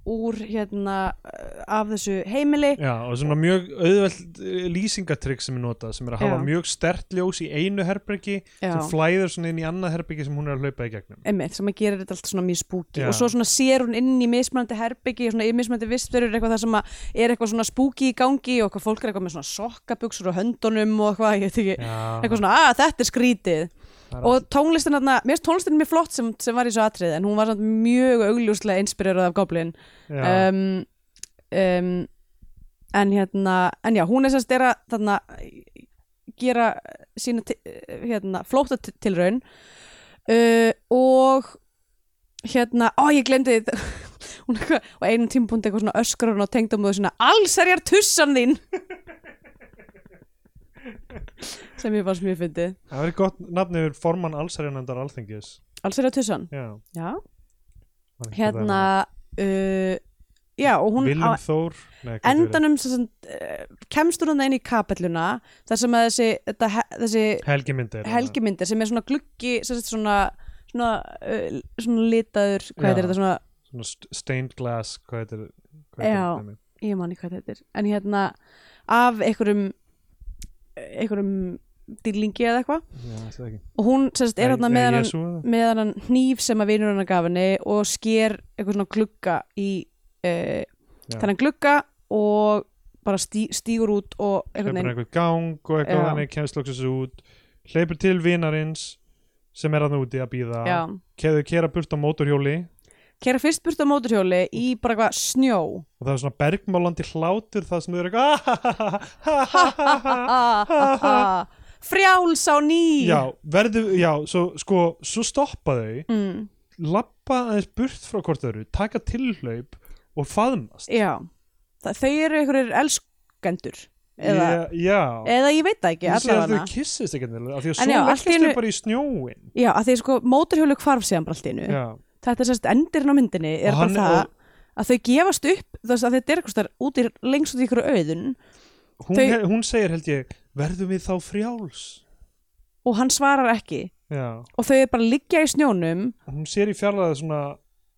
S3: úr hérna eh, af þessu heimili
S2: já, og svona mjög auðveld lýsingatrygg sem er notað sem er að hafa
S3: Já.
S2: mjög stert ljós í einu herbergi
S3: Já.
S2: sem flæður svona inn í annað herbergi sem hún er að hlaupa í gegnum
S3: einmitt, sem að gera þetta allt svona mjög spooky
S2: Já.
S3: og svo svona sér hún inn í mismunandi herbyggi svona í mismunandi vistverur eitthvað það sem að er eitthvað svona spooky í gangi og eitthvað fólk er eitthvað með svona sokkabuxur og höndunum og eitthvað, ég veit ekki
S2: Já.
S3: eitthvað svona, að þetta er skrítið
S2: Það er
S3: og tónlistin þarna, mér finnst tónlistin mjög flott sem, sem var í svo atrið, en hún var svona mjög augljóslega inspirerað af Goblin
S2: já,
S3: um, um, en hérna en já, hún er sérst er að þarna gera sína ti- hérna, flóta til raun uh, og hérna, ó ég glemdi þið hún eitthvað, og einum tímapunkti eitthvað svona öskrar hún á tengdamóðu svona alls er ég að tussan þín sem ég fannst mjög fyndið
S2: það verið gott nafn yfir formann allsarjarnendar alþingis
S3: alls er ég að tussan,
S2: já,
S3: já
S2: man ekki hvað
S3: hérna uh, já og
S2: það er.
S3: hún á
S2: Willum Þór Nei, hvað heitir
S3: endanum sem sagt, eh, kemst hún þarna inn í kapelluna þar sem að þessi, þetta, he- þessi
S2: þetta? Helgi myndir
S3: helgimyndir sem er svona gluggi sem sagt, svona, svona, uh, svona litaður
S2: Já.
S3: hvað heitir þetta svona
S2: svona st- stained glass hvað heitir, hvað
S3: Já.
S2: heitir dæmi?
S3: ég man ekki hvað þetta er en hérna af einhverjum einhverjum dýlingi eða eitthvað
S2: já, það er ekki
S3: og hún sérst er hérna með hann
S2: Jesú eða?
S3: með hann hníf sem að vinur hann gaf henni og sker eitthvað svona glugga í uh,
S2: Já.
S3: þennan glugga og bara stí, stígur út og
S2: hleypur
S3: einhvern veginn
S2: einhver gang og eitthvað
S3: Já.
S2: þannig kemst loksins út hleypur til vinarins sem er að úti að býða
S3: já.
S2: keðu kera burt á mótorhjóli
S3: kera fyrst burt á móturhjóli í bara eitthvað snjó
S2: og það er svona bergmálandi hlátur það sem þau eru eitthvað
S3: Ah, ah, ah. frjáls á ný
S2: já, verðu, já, svo, sko svo stoppa þau,
S3: mm,
S2: lappa aðeins burt frá hvort þau eru, taka tilhlaup og faðmast
S3: já. Þa, þau eru einhverjir elskendur eða,
S2: Ég- já,
S3: eða ég veit það ekki
S2: ég sé að
S3: allavega
S2: þau kyssist ekki endilega, af því að
S3: En
S2: svo
S3: já, allt
S2: leggjast
S3: í einu-
S2: þau bara í snjóin
S3: já, að því sko móturhjólu hvarf síðan bara allt í einu
S2: já,
S3: þetta er sérst endirinn á myndinni er
S2: Og
S3: bara
S2: hann-
S3: það
S2: og-
S3: að þau gefast upp þú veist að þetta er eitthvað staðar út í, lengst út í ykkur auðun
S2: hún,
S3: Þau-
S2: he- hún segir held ég verðum við þá frjáls
S3: og hann svarar ekki
S2: já,
S3: og þau er bara að liggja í snjónum
S2: hún sér í fjarlæði svona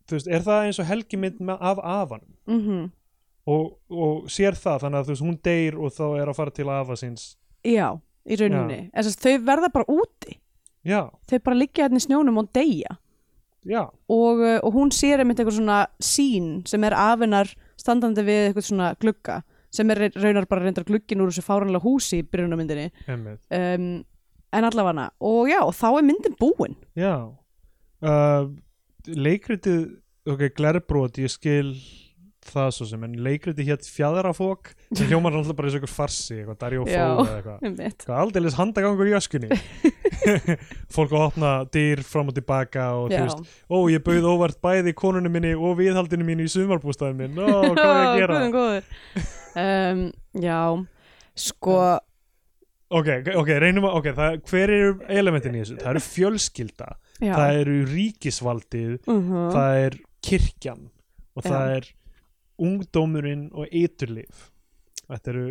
S2: þú veist, er það eins og helgi mynd með- af afanum
S3: mm
S2: Mhm. og, og sér það, þannig að þú veist, hún deyr og þá er að fara til afa síns
S3: já, í rauninni en sérst þau verða bara úti
S2: já,
S3: þau bara liggja hérna í snjónum og deyja
S2: já,
S3: og, uh, og hún sér einmitt eitthvað svona sín sem er afinnar standandi við eitthvað svona glugga sem er raunar bara reyndar glugginn úr þessu fáranlega húsi í byrjunarmyndinni
S2: emmið
S3: um, en allavega og já, þá er myndin búin
S2: já uh, leikritið ok, glerbrot, ég skil það svo sem, en leikritið hétt fjadrafók sem hljómar náttúrulega bara eins og einhver farsi eitthvað, Darjó Fó
S3: Já.
S2: eða eitthvað
S3: einmitt
S2: Hvað Sko, aldeilis handagangur í öskunni Fólk að opna dyr fram og tilbaka og þú
S3: Já.
S2: veist Ó, ég bauð óvart bæði konunum minni og viðhaldinu mínu í sumarbústæðin minn Ó, hvað er ég að gera?
S3: Guðum góður um, Já, sko
S2: ok, ok, reynum að, ok, það, hver eru elementin í þessu? Það eru fjölskylda,
S3: já.
S2: það eru ríkisvaldið,
S3: Mhm.
S2: það er kirkjan og
S3: Já.
S2: það er ungdómurinn og eiturlif Þetta eru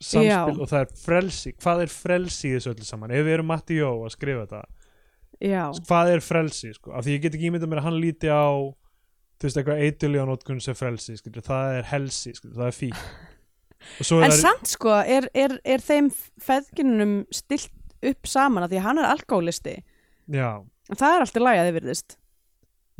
S2: samspil
S3: Já.
S2: og það er frelsi Hvað er frelsi í þessu öllu saman? Ef við erum Matti Jó að skrifa þetta
S3: já,
S2: hvað er frelsi sko? af því ég get ekki ímyndað mér að hann líti á þú veist eitthvað eitulíu á notkun sem frelsi skilur. það er helsi, skilur. það er fík og svo
S3: En
S2: er
S3: samt sko, er, er, er þeim feðginunum stilt upp saman að því að hann er alkoholisti
S2: það já,
S3: En Það er allt í lagi að þið virðist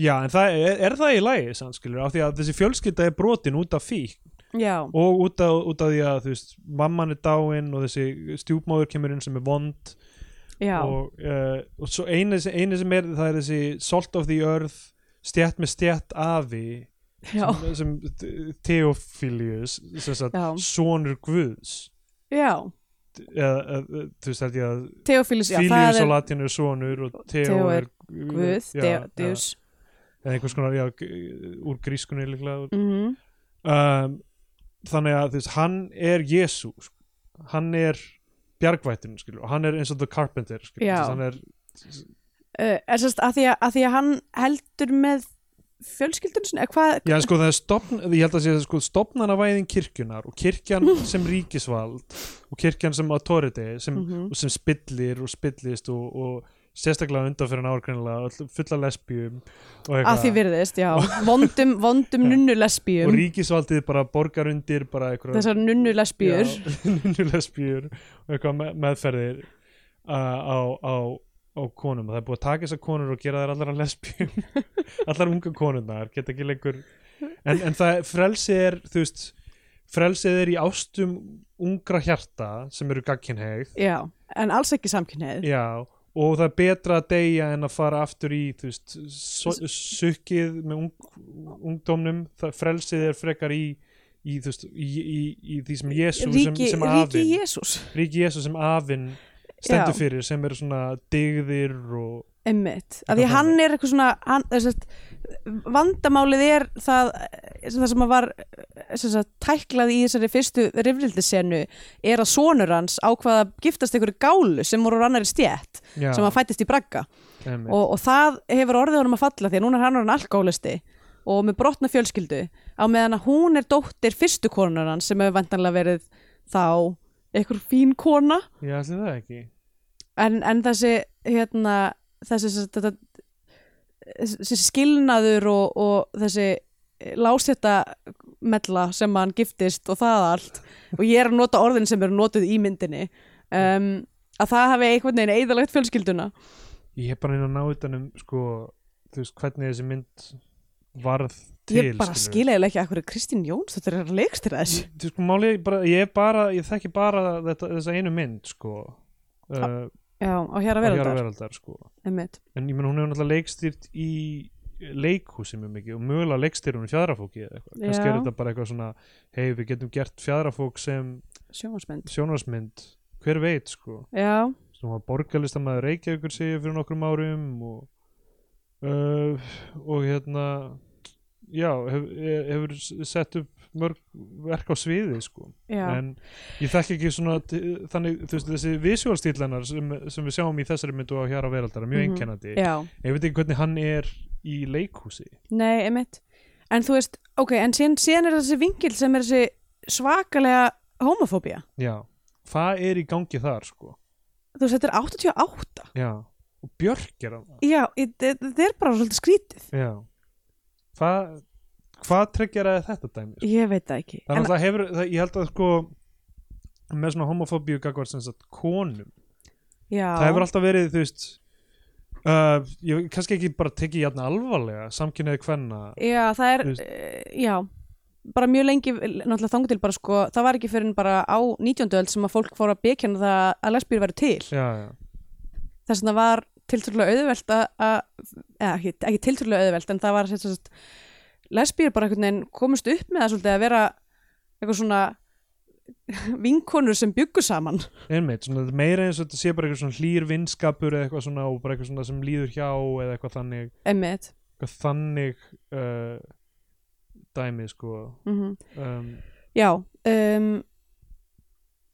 S2: já, en það er, er það í lagi sann, skilur, af því að þessi fjölskylda er brotin út af fík
S3: Já,
S2: og út af, út af því að þú veist mamman er dáin og þessi stjúpmóður kemur inn sem er vond
S3: já,
S2: og, uh, og svo einu, sem- einu sem er það er þessi salt of the earth stjætt með stjætt afi
S3: já,
S2: sem, sem Theophilius sem sagt,
S3: Já.
S2: sonur guðs
S3: já
S2: eða, eða, þú veist held ég að
S3: Teofílus, já, það
S2: Filius
S3: er
S2: og Latin er sonur og Teo
S3: Theo
S2: er
S3: er Guð,
S2: já,
S3: Deo-
S2: já,
S3: Deus
S2: eða einhvers konar, já, g- úr grískunni líklega
S3: Mhm.
S2: um, þannig að þú veist, hann er Jésu sko. hann er bjargvættin, skilur, og hann er eins og the carpenter, skilur,
S3: Já.
S2: þess að hann er
S3: Uh, Er sérst að því að, að því að hann heldur með fjölskyldun sinni, eða hvað,
S2: já, sko, það er stopn, ég held að sé sko, stopnanavæðin kirkjunar og kirkjan sem ríkisvald og kirkjan sem authority, sem
S3: Mhm.
S2: og sem spillir og spillist og, og sérstaklega undanfyrir árgrinlega fulla lesbjum og,
S3: að því
S2: eitthvað.
S3: virðist, já, vondum, vondum
S2: Já.
S3: nunnulesbíum
S2: og ríkisvaldið bara borgar undir bara einhverja
S3: þessar nunnulesbíur
S2: lesbjur og eitthvað me- meðferðir uh, á, á, á konum það er búið að taka þessar konur og gera þær allar að lesbjum allar unga konurnar geta ekki lengur en, en það frelsið er þú veist frelsið er í ástum ungra hjarta sem eru gagkinhegð
S3: já, en alls ekki samkynneið
S2: Já, og það er betra að deyja en að fara aftur í þú veist, so- sukkið með ung, ungdómnum, það frelsið er frekar í, í, þú veist, í, í, í því sem Jésu sem,
S3: ríki,
S2: sem
S3: ríki
S2: afinn
S3: Jésús
S2: ríki Jésu sem afinn stendur
S3: Já.
S2: fyrir sem eru svona dygðir og
S3: emmitt,
S2: Eitthvað
S3: af því hann
S2: þannig.
S3: er eitthvað svona hann, þessast, vandamálið er það, það sem að var þessast, tæklað í þessari fyrstu rifrildisenu er að sonur hans ákvaða að giftast einhverju gálu sem voru úr annari stjætt
S2: já,
S3: sem að fættist í bragga
S2: einmitt.
S3: og, og það hefur orðið honum að falla því að núna er hann orðin alkoholisti og með brotna fjölskyldu á meðan að hún er dóttir fyrstu konur hans sem hefur vantanlega verið þá einhver fín kona
S2: ég ætli það ekki
S3: en, en þessi hérna þessi, þessi, þetta, þessi skilnaður og, og þessi lásetta mella sem hann giftist og það allt og ég er að nota orðin sem eru notuð í myndinni um, að það hafi einhvern veginn eðalagt fjölskylduna
S2: ég hef bara einu að ná utanum sko, þú veist, hvernig þessi mynd varð til
S3: ég bara
S2: skilurðu.
S3: skil eða ekki að hverju Kristín Jóns þetta er að leikstir þessu
S2: Þú sko, máli, ég, bara, ég, er bara, ég þekki bara þetta, þessa einu mynd sko, uh,
S3: já, á hér að
S2: að
S3: vera
S2: gera
S3: þetta
S2: veraldar sko.
S3: einmitt,
S2: en ég menn hún hefur náttúrulega leikstýrt í leikhúsi mjög mikið og mögulega leikstýr hún í fjadrafóki eða eitthvað kannski er
S3: Já.
S2: þetta bara eitthvað svona hei við getum gert fjadrafók sem
S3: sjónvarsmynd
S2: sjónarsmynd hver veit sko
S3: já,
S2: sem var borgarlistamæður Reykjavíkur segja fyrir nokkrum árum og, uh, og hérna já, hef, e- hefur s- sett upp mörg verk á sviði sko
S3: já,
S2: en ég þekki ekki svona t- þannig, þú veist, þessi visjóalstílennar sem, sem við sjáum í þessari myndu á hér á veraldar er mjög
S3: Mhm.
S2: einkennandi
S3: já
S2: ég veit ekki hvernig hann er í leikhúsi
S3: nei, einmitt en þú veist, ok, en síðan, síðan er þessi vingil sem er þessi svakalega homofóbía,
S2: já, hvað er í gangi þar sko
S3: þú veist, þetta er 88
S2: já, og Björk er hann
S3: já, í- þe- þetta er bara svolítið skrítið
S2: já, hvað hvað tryggjar að þetta dæmi sko?
S3: ég veit það ekki,
S2: það er
S3: en,
S2: alltaf hefur, það, ég held að sko með svona homofóbíu gagvart sem sagt konum,
S3: já
S2: það hefur alltaf verið þú veist uh, ég kannski ekki bara tekið jæna alvarlega samkynniði kvenna
S3: Já, það er,
S2: Þú veist.
S3: eh, já bara mjög lengi, náttúrulega þangu til bara sko, það var ekki fyrir en bara á 19. öld sem að fólk fór að bekjana það að lesbíur væri til
S2: já, já,
S3: þess að það var tiltrúlega auðvelt að, að eða, ekki, ekki tiltrúlega auðvelt en það var sem sagt, lesbíur bara einhvern veginn komust upp með það svolítið að vera eitthvað svona vinkonur sem byggu saman
S2: einmitt, svona, þetta er meira eins og þetta sé bara eitthvað svona hlýr vinskapur eða eitthvað svona og bara eitthvað svona sem líður hjá eða eitthvað þannig
S3: emmitt
S2: eitthvað þannig uh, dæmi sko
S3: mm
S2: um,
S3: Já, um,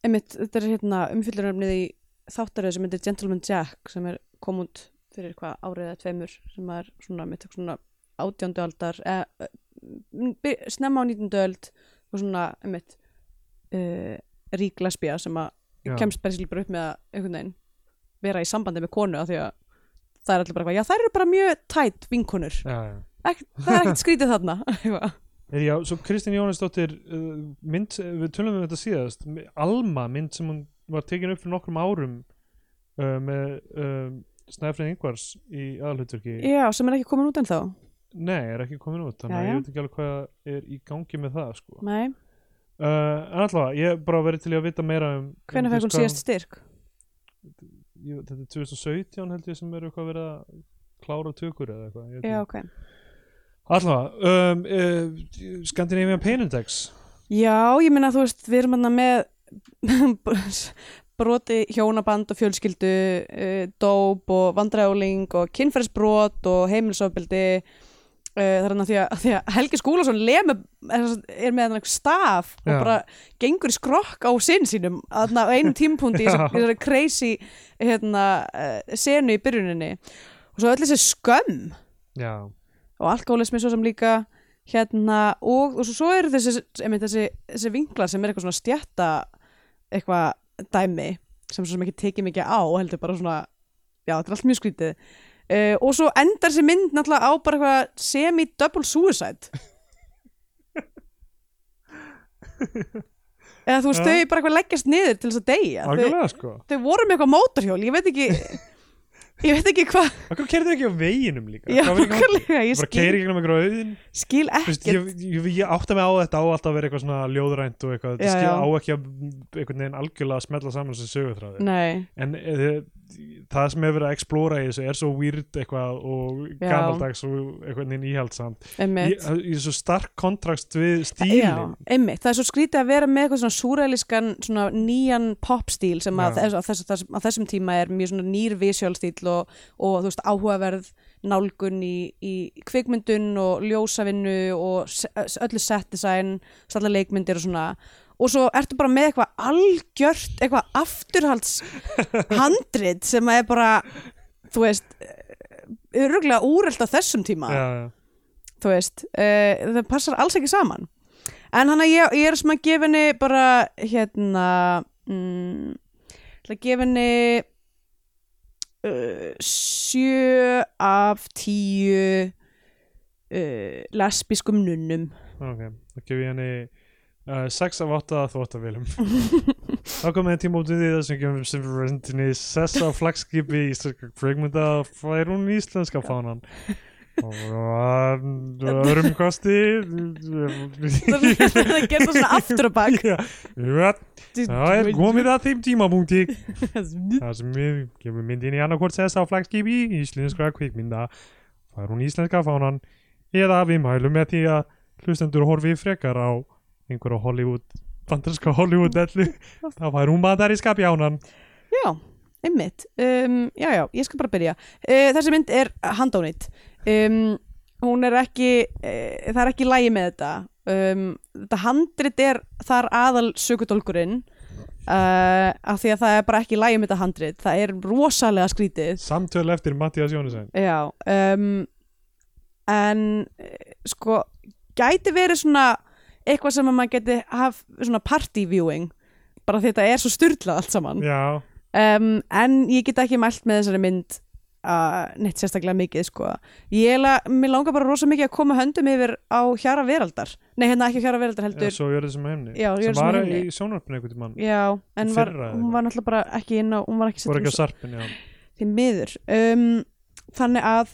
S3: einmitt, þetta er hérna umfyllunaröfnið í þáttaröð sem heitir Gentleman Jack sem er kom út fyrir hvað árið eða tveimur sem er svona, mitt, svona átjándu aldar eða, eh, by- snemma á nýtundu öld og svona, einmitt uh, rík lesbía sem að
S2: já,
S3: kemst bensíli bara upp með að einhvern veginn vera í sambandi með konu af því að það er allir bara eitthvað, já þær eru bara mjög tætt vinkonur,
S2: já, já.
S3: Ek, það er ekkert skrítið þarna eitthvað.
S2: Eh, já, svo Kristín Jónisdóttir uh, mynd, við tölum um þetta síðast mi- Alma, mynd sem hún var tekin upp fyrir nokkrum árum uh, með uh, Snæfrið Ingvars í aðalhutverki
S3: Já, sem er ekki komin út ennþá
S2: nei, er ekki komin út, þannig að
S3: Jæja.
S2: ég veit ekki alveg hvað er í gangi með það sko.
S3: Nei
S2: uh, en allavega, ég hef bara verið til í að vita meira um
S3: Hvenær
S2: um, þú
S3: fekk hún
S2: veist, hvað
S3: síðast styrk?
S2: ég, veit- þetta er 2017 held ég sem eru eitthvað verið að klára tökur eða eitthvað ég veit
S3: Já,
S2: ekki.
S3: ok.
S2: allavega um, uh, Scandinavian Pain Index
S3: Já, ég meina þú veist, við erum hann með broti hjónaband og fjölskyldu, uh, dóp og vandræðuling og kynferðsbrot og heimilsofbildi. Uh, það er hann að því að, að, því að Helgi Skúlason lemu, er, er með hann staf og
S2: Já.
S3: bara gengur í skrokk á sinn sínum þarna á einum tímpúndi í
S2: Já.
S3: þessari- í þessari crazy hérna, uh, senu í byrjuninni. Og svo öll þessi skömm.
S2: já,
S3: og alkoholismi svo sem líka hérna og, og svo, svo eru þessi, einmitt, þessi, þessi vinglar sem er eitthvað svona stjætta eitthvað dæmi sem svo sem ekki tekið mikið á heldur bara svona, já þetta er allt mjög skrítið uh, og svo endar þessi mynd náttúrulega á bara eitthvað semi-double suicide eða þú veist
S2: Já.
S3: þau bara eitthvað leggjast niður til þess að deyja þau,
S2: algjörlega sko
S3: þau voru með eitthvað mótorhjól ég veit ekki ég veit ekki hvað
S2: Akkur kerði ekki á veginum líka
S3: Já,
S2: Hvað var í gangi?
S3: nákvæmlega, ég
S2: Bara
S3: skil,
S2: keiri gegnum einhverju auðin
S3: skil
S2: Vist,
S3: ekkert
S2: ég, ég, ég átta mig á þetta á alltaf að vera eitthvað svona ljóðrænt og eitthvað
S3: Já,
S2: Þetta skil
S3: já.
S2: á ekki að einhvern veginn algjörlega að smetla saman sem sögutræði
S3: Nei,
S2: En e, það sem hefur verið að explóra í þessu er svo weird eitthvað og
S3: Já.
S2: gamaldags og einhvern veginn íhaldsamt Ég
S3: einmitt
S2: ég er svo stark kontrast við
S3: Já,
S2: stílin
S3: einmitt, það er svo skrítið að vera með eitthvað svona súræliskan, svona nýjan popstíl sem
S2: Já.
S3: að, þess, að, þess, þess, að þessum tíma er mjög svona nýr visjálstíl og, og þú veist áhugaverð nálgun í, í kvikmyndun og ljósavinnu og se- öllu set design, allar leikmyndir og svona og svo ertu bara með eitthvað algjört, eitthvað afturhalds handrit sem að er bara þú veist öruglega úrelt á þessum tíma
S2: Já, já
S3: þú veist, uh, það passar alls ekki saman en hann að ég, ég er sem að gefa henni bara hérna mm, ætla að gefa henni uh, sjö af tíu uh, lesbískum nunnum
S2: Ok, þá gef ég henni uh, 6 af 8 þvóttavélum Þá komið tíma út við því þessum gefum sem rendinni sessa á flagskipi íslenska kveikmynda fær hún íslenska fánan og öðrum kosti
S3: það er gert svona aftur og bak
S2: Já, já, það er komið að þeim tímapunkti
S3: það
S2: þar sem við gefum myndin í annarkvort sessa á flagskipi í íslenskra kvikmynda fær hún íslenska fánan eða við mælum með því að hlustendur horfi frekar á einhverja Hollywood bandarska Hollywood ellu þá fær hún bandaríska bjánan
S3: Já, einmitt um, Já, já, ég skal bara byrja uh, Þessi mynd er handónýtt um, Hún er ekki uh, Það er ekki lægi með þetta um, Þetta handrit er þar aðal sökudólkurinn uh, af því að það er bara ekki lægi með þetta handrit Það er rosalega skrítið
S2: samtöl eftir Mattias Jónisen
S3: Já um, En eh, sko Gæti verið svona Eitthvað sem að maður geti haf Svona party viewing Bara því þetta er svo styrlað allt saman
S2: já,
S3: um, En ég get ekki mælt með þessari mynd uh, Neitt sérstaklega mikið sko Ég la, Mér langar bara rosa mikið að koma höndum yfir Á hjara veraldar Nei hérna ekki hjara
S2: eða
S3: veraldar heldur
S2: svo jörðu sem heimni
S3: Já, Jörðu
S2: sem
S3: sem
S2: var
S3: heimni.
S2: í sjónvarpinu einhvern tímann
S3: Já, en var,
S2: Fyrra eða
S3: hún var náttúrulega bara ekki inn á Hún var ekki sett
S2: voru
S3: inn á
S2: ekki á sarpin, já
S3: því miður um, þannig að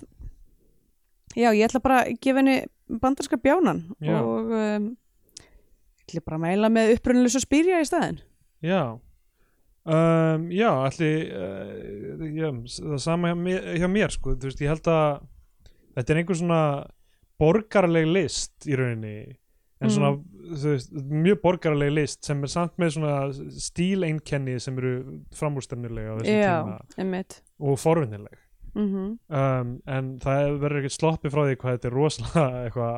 S3: já, ég ætla bara að gefa henni bandarska bjánan
S2: Já.
S3: og um, ég ætla bara að mæla með upprunnulis og spýrja í staðin
S2: Já um, Já, allir uh, já, s- það sama hjá mér, hjá mér sko, þú veist, ég held að þetta er einhver svona borgarleg list í rauninni en
S3: Mm.
S2: svona, þú veist, mjög borgarleg list sem er samt með svona stíleinkenni sem eru framúrstefnilega á þessum tíma
S3: einmitt
S2: og forvinnileg
S3: mm
S2: um, en það verður ekkert sloppið frá því hvað þetta er rosalega eitthvað,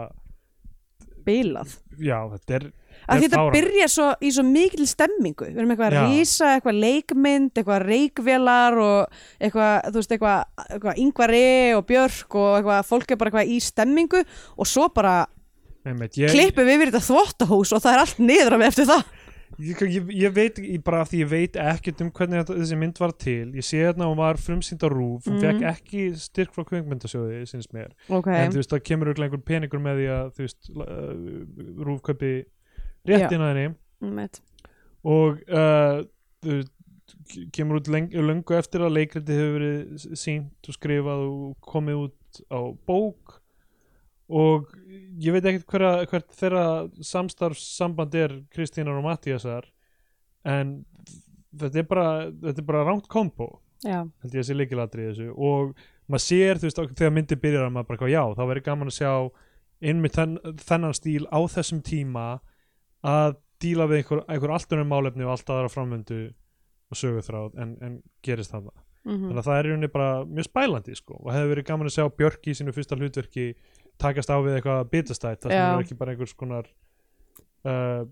S3: bilað
S2: já, þetta er
S3: að
S2: Þetta er
S3: þetta
S2: fáránlegt.
S3: byrja svo, í svo mikil stemmingu við erum eitthvað
S2: Já.
S3: að rísa, eitthvað leikmynd eitthvað reikvélar og eitthvað, þú veist, eitthvað, eitthvað yngvari og björk og eitthvað, fólk er bara eitthvað í stemmingu og svo bara
S2: einmitt, ég,
S3: klippum við yfir þetta þvottahús og það er allt niður af eftir það
S2: ég, ég, ég veit ég bara af því ég veit ekkert um hvernig þetta, þessi mynd var til ég sé hérna að hún var frumsýnd á rúf hún
S3: Mhm.
S2: fekk ekki styrk frá kvöngmyndasjóði sinns mér,
S3: okay.
S2: en þú veist það kemur örugglega einhver peningur með því að þú veist uh, rúf kaupi réttin að henni
S3: Einmitt.
S2: og uh, þú veist, kemur út leng, löngu eftir að leikriti hefur verið sínt og skrifað og komið út á bók og ég veit ekkert hverja, hvert þeirra samstarfssamband er Kristínar og Mattiasar en þetta er bara, þetta er bara rámt kombo
S3: Já,
S2: held ég að sé leikilatri í þessu og maður sér, þú veist, á- þegar myndi byrjar að maður bara, eitthvað, já, þá verið gaman að sjá einmitt þenn, þennan stíl á þessum tíma að díla við einhver, einhver allt önnum málefni og allt aðra framöndu og söguþráð en, en gerist það
S3: Mhm.
S2: þannig að það er í rauninni bara mjög spælandi sko. og hefði verið gaman að sjá Björk í sínu fyrsta hlutverki takast á við eitthvað bitastætt það sem
S3: Já.
S2: er ekki bara einhvers konar uh,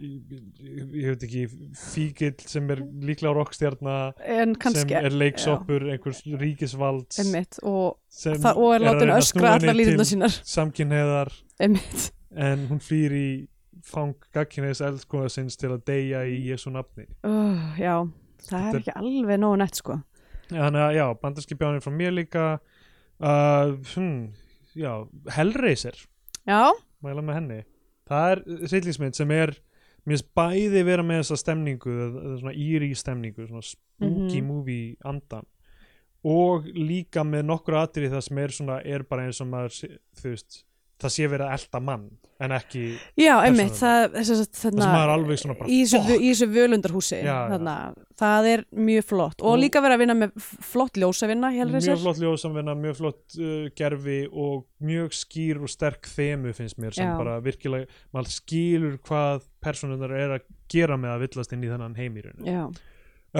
S2: ég, ég, ég veit ekki fíkill sem er líklega rockstjarna
S3: en kannski
S2: sem er leiksoppur einhvers ríkisvalds
S3: Einmitt, og,
S2: sem
S3: það, og er
S2: að
S3: látin
S2: reyna að snúa
S3: öskra allar
S2: henni
S3: lítuna
S2: til
S3: sínar
S2: samkynhneigðar
S3: Einmitt,
S2: en hún flýr í fang gagkynhneigðs eldskona sinns til að deyja í Jésu nafni
S3: uh, já það
S2: Þetta
S3: er
S2: er-
S3: ekki alveg nógu nett sko
S2: þannig að já, bandarski bjánir frá mér líka uh, hm, já, Hellraiser
S3: Já,
S2: mæla með henni það er hryllingsmynd sem er mér finnst bæði vera með þessa stemningu eða- eða svona íri stemningu svona spooky
S3: Mhm.
S2: movie andan og líka með nokkur atrið það sem er svona er bara eins og maður sé- þú veist það sé verið að elda mann en ekki
S3: já, einmitt það,
S2: Persónulega.
S3: þess, þess,
S2: það
S3: þarna,
S2: sem maður er alveg svona bara
S3: í þessu,
S2: fuck.
S3: vu- í þessu völundarhúsi
S2: Já, já.
S3: þarna, það er mjög flott og
S2: Nú-
S3: líka verið að vinna með f- flott ljósavinna
S2: mjög
S3: Hellraiser.
S2: flott ljóðsamvinna, mjög flott uh, gerfi og mjög skýr og sterk þemu finnst mér sem
S3: Já.
S2: bara virkilega maður skilur hvað personunar er að gera með að villast inn í þennan heimýrunu
S3: Já,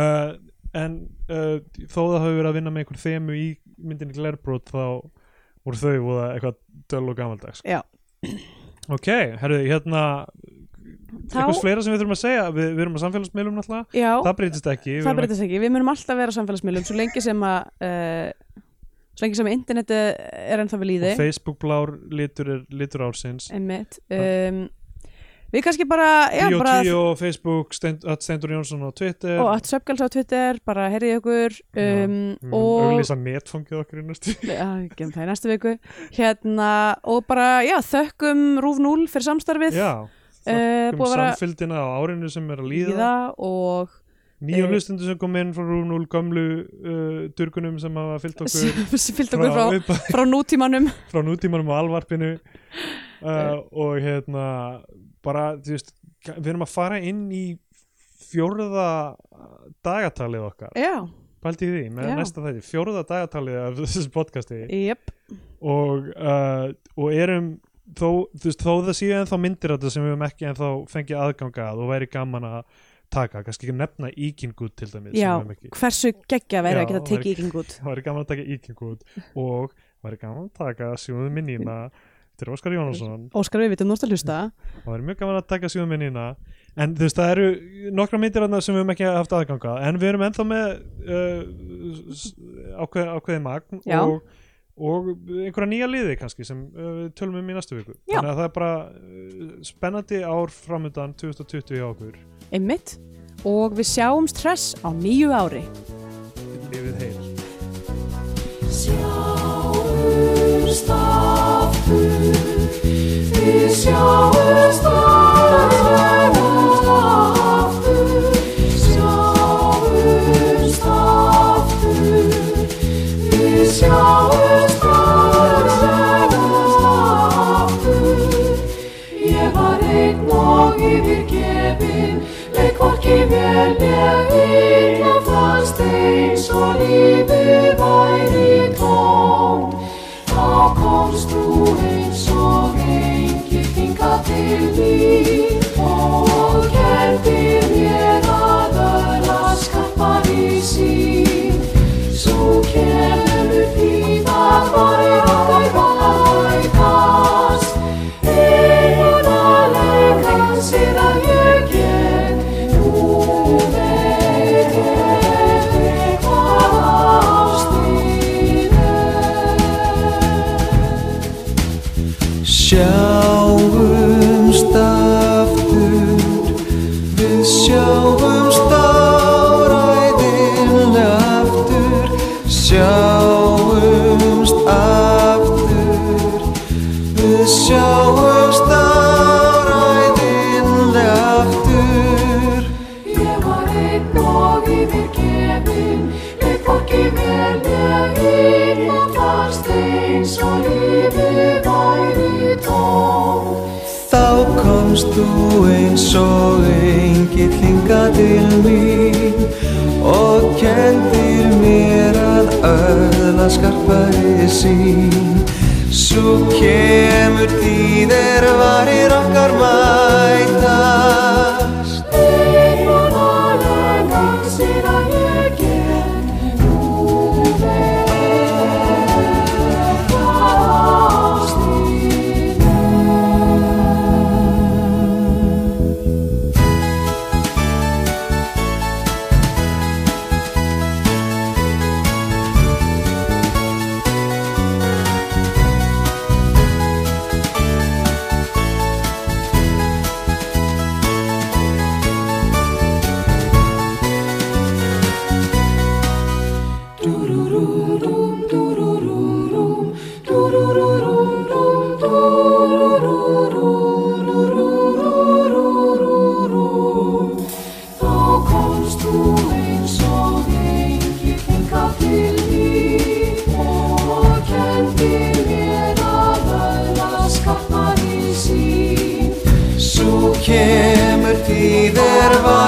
S2: uh, en uh, þó það hafi verið að vinna með einhver þemu í myndinni Glerbrot þá voru þau voða eitthvað döl og gamaldags sko.
S3: Já.
S2: ok, herruði, hérna
S3: Þá-
S2: eitthvað fleira sem við þurfum að segja við, við erum á samfélagsmiðlum náttúrulega
S3: já
S2: það breytist ekki, við
S3: það
S2: erum
S3: breytist ekki, við munum alltaf vera á samfélagsmiðlum svo lengi sem að uh, svo lengi sem að internetið er ennþá við líði
S2: og Facebook blár litur, er, litur ársins
S3: Einmitt
S2: Það-
S3: um, Við kannski bara, já,
S2: Bíó
S3: bara
S2: 10 og Facebook, Steind- at Steindur Jónsson á Twitter
S3: og að söpgjáls á Twitter, bara heyrið ykkur um,
S2: mm,
S3: og
S2: auglýsa netfangið okkur í næstu
S3: já, gefum það í næstu viku hérna, og bara, já, þökkum Rúf 0 fyrir samstarfið
S2: já,
S3: Eh,
S2: um
S3: búið að vera
S2: samfylgdina á árinu sem er að líða
S3: líða og
S2: nýju
S3: Eh.
S2: hlustundu sem kom inn frá Rúnul gömlu uh, durgunum sem hafa fyllt okkur
S3: sem fyllt okkur frá,
S2: upp,
S3: frá nútímanum
S2: frá nútímanum og alvarpinu
S3: Eh.
S2: uh, og hérna bara, þú veist, við erum að fara inn í fjórða dagatalið okkar
S3: já,
S2: pældi í því, með
S3: Já.
S2: næsta þætti, fjórða dagatalið af þessu podcasti
S3: jöp
S2: og, uh, og erum þó, þú veist, þó það séu ennþá myndir þetta sem við höfum ekki ennþá fengið aðgang að og væri gaman að taka kannski ekki nefna íkingút til dæmis sem
S3: já,
S2: við höfum ekki-
S3: hversu geggja
S2: Já,
S3: verið að geta
S2: væri-
S3: tekið yking út
S2: væri gaman að taka íkingút og væri gaman að taka sjóðum minnina til Óskar Jónasson
S3: Óskar við vitum, nú ertu að hlusta
S2: það væri mjög gaman að taka sjóðum minnina en þú veist, það eru nokkra myndir þarna sem við höfum ekki haft aðganga en við erum ennþá með uh, s- ákveð, ákveðið magn
S3: Já.
S2: og og einhverja nýja liði kannski sem uh, við tölum um í næstu viku
S3: Já.
S2: þannig að það er bara uh, spennandi ár framöndan 2020 hjá okkur
S3: einmitt og við sjáum stress á nýju ári
S2: lifið heil
S4: Sjáumst aftur, við sjáumst aftur, sjáumst aftur, við sjáumst aftur. Ég var einn og yfirgefin, leik hvorki vel ég illa fast eins og lífið væri tómt. Þá komst þú eins og enginn hinga til mín og gerðir mér að öðla skarpar í sín. Svo kemur þín að varir okkar vætast Einarleg kransir að ég get Þú veit ekki hvað ástin er
S5: Sjáumst aftur Við sjáumst áræðin aftur Sjáumst aftur Við sjáumst áræðin aftur
S4: Ég var einn og yfirgefin Við fólki vel ég illa fast eins og lífið væri tómt
S5: Þá komst þú eins og engill hinga til mín og kendir mér að öðla skarpari sín. Svo kemur tíðir varir okkar mætast.
S4: Þá komst þú eins og enginn hingað til mín og kendir mér að öðla skarpar í sín.
S5: Svo kemur tíðir varir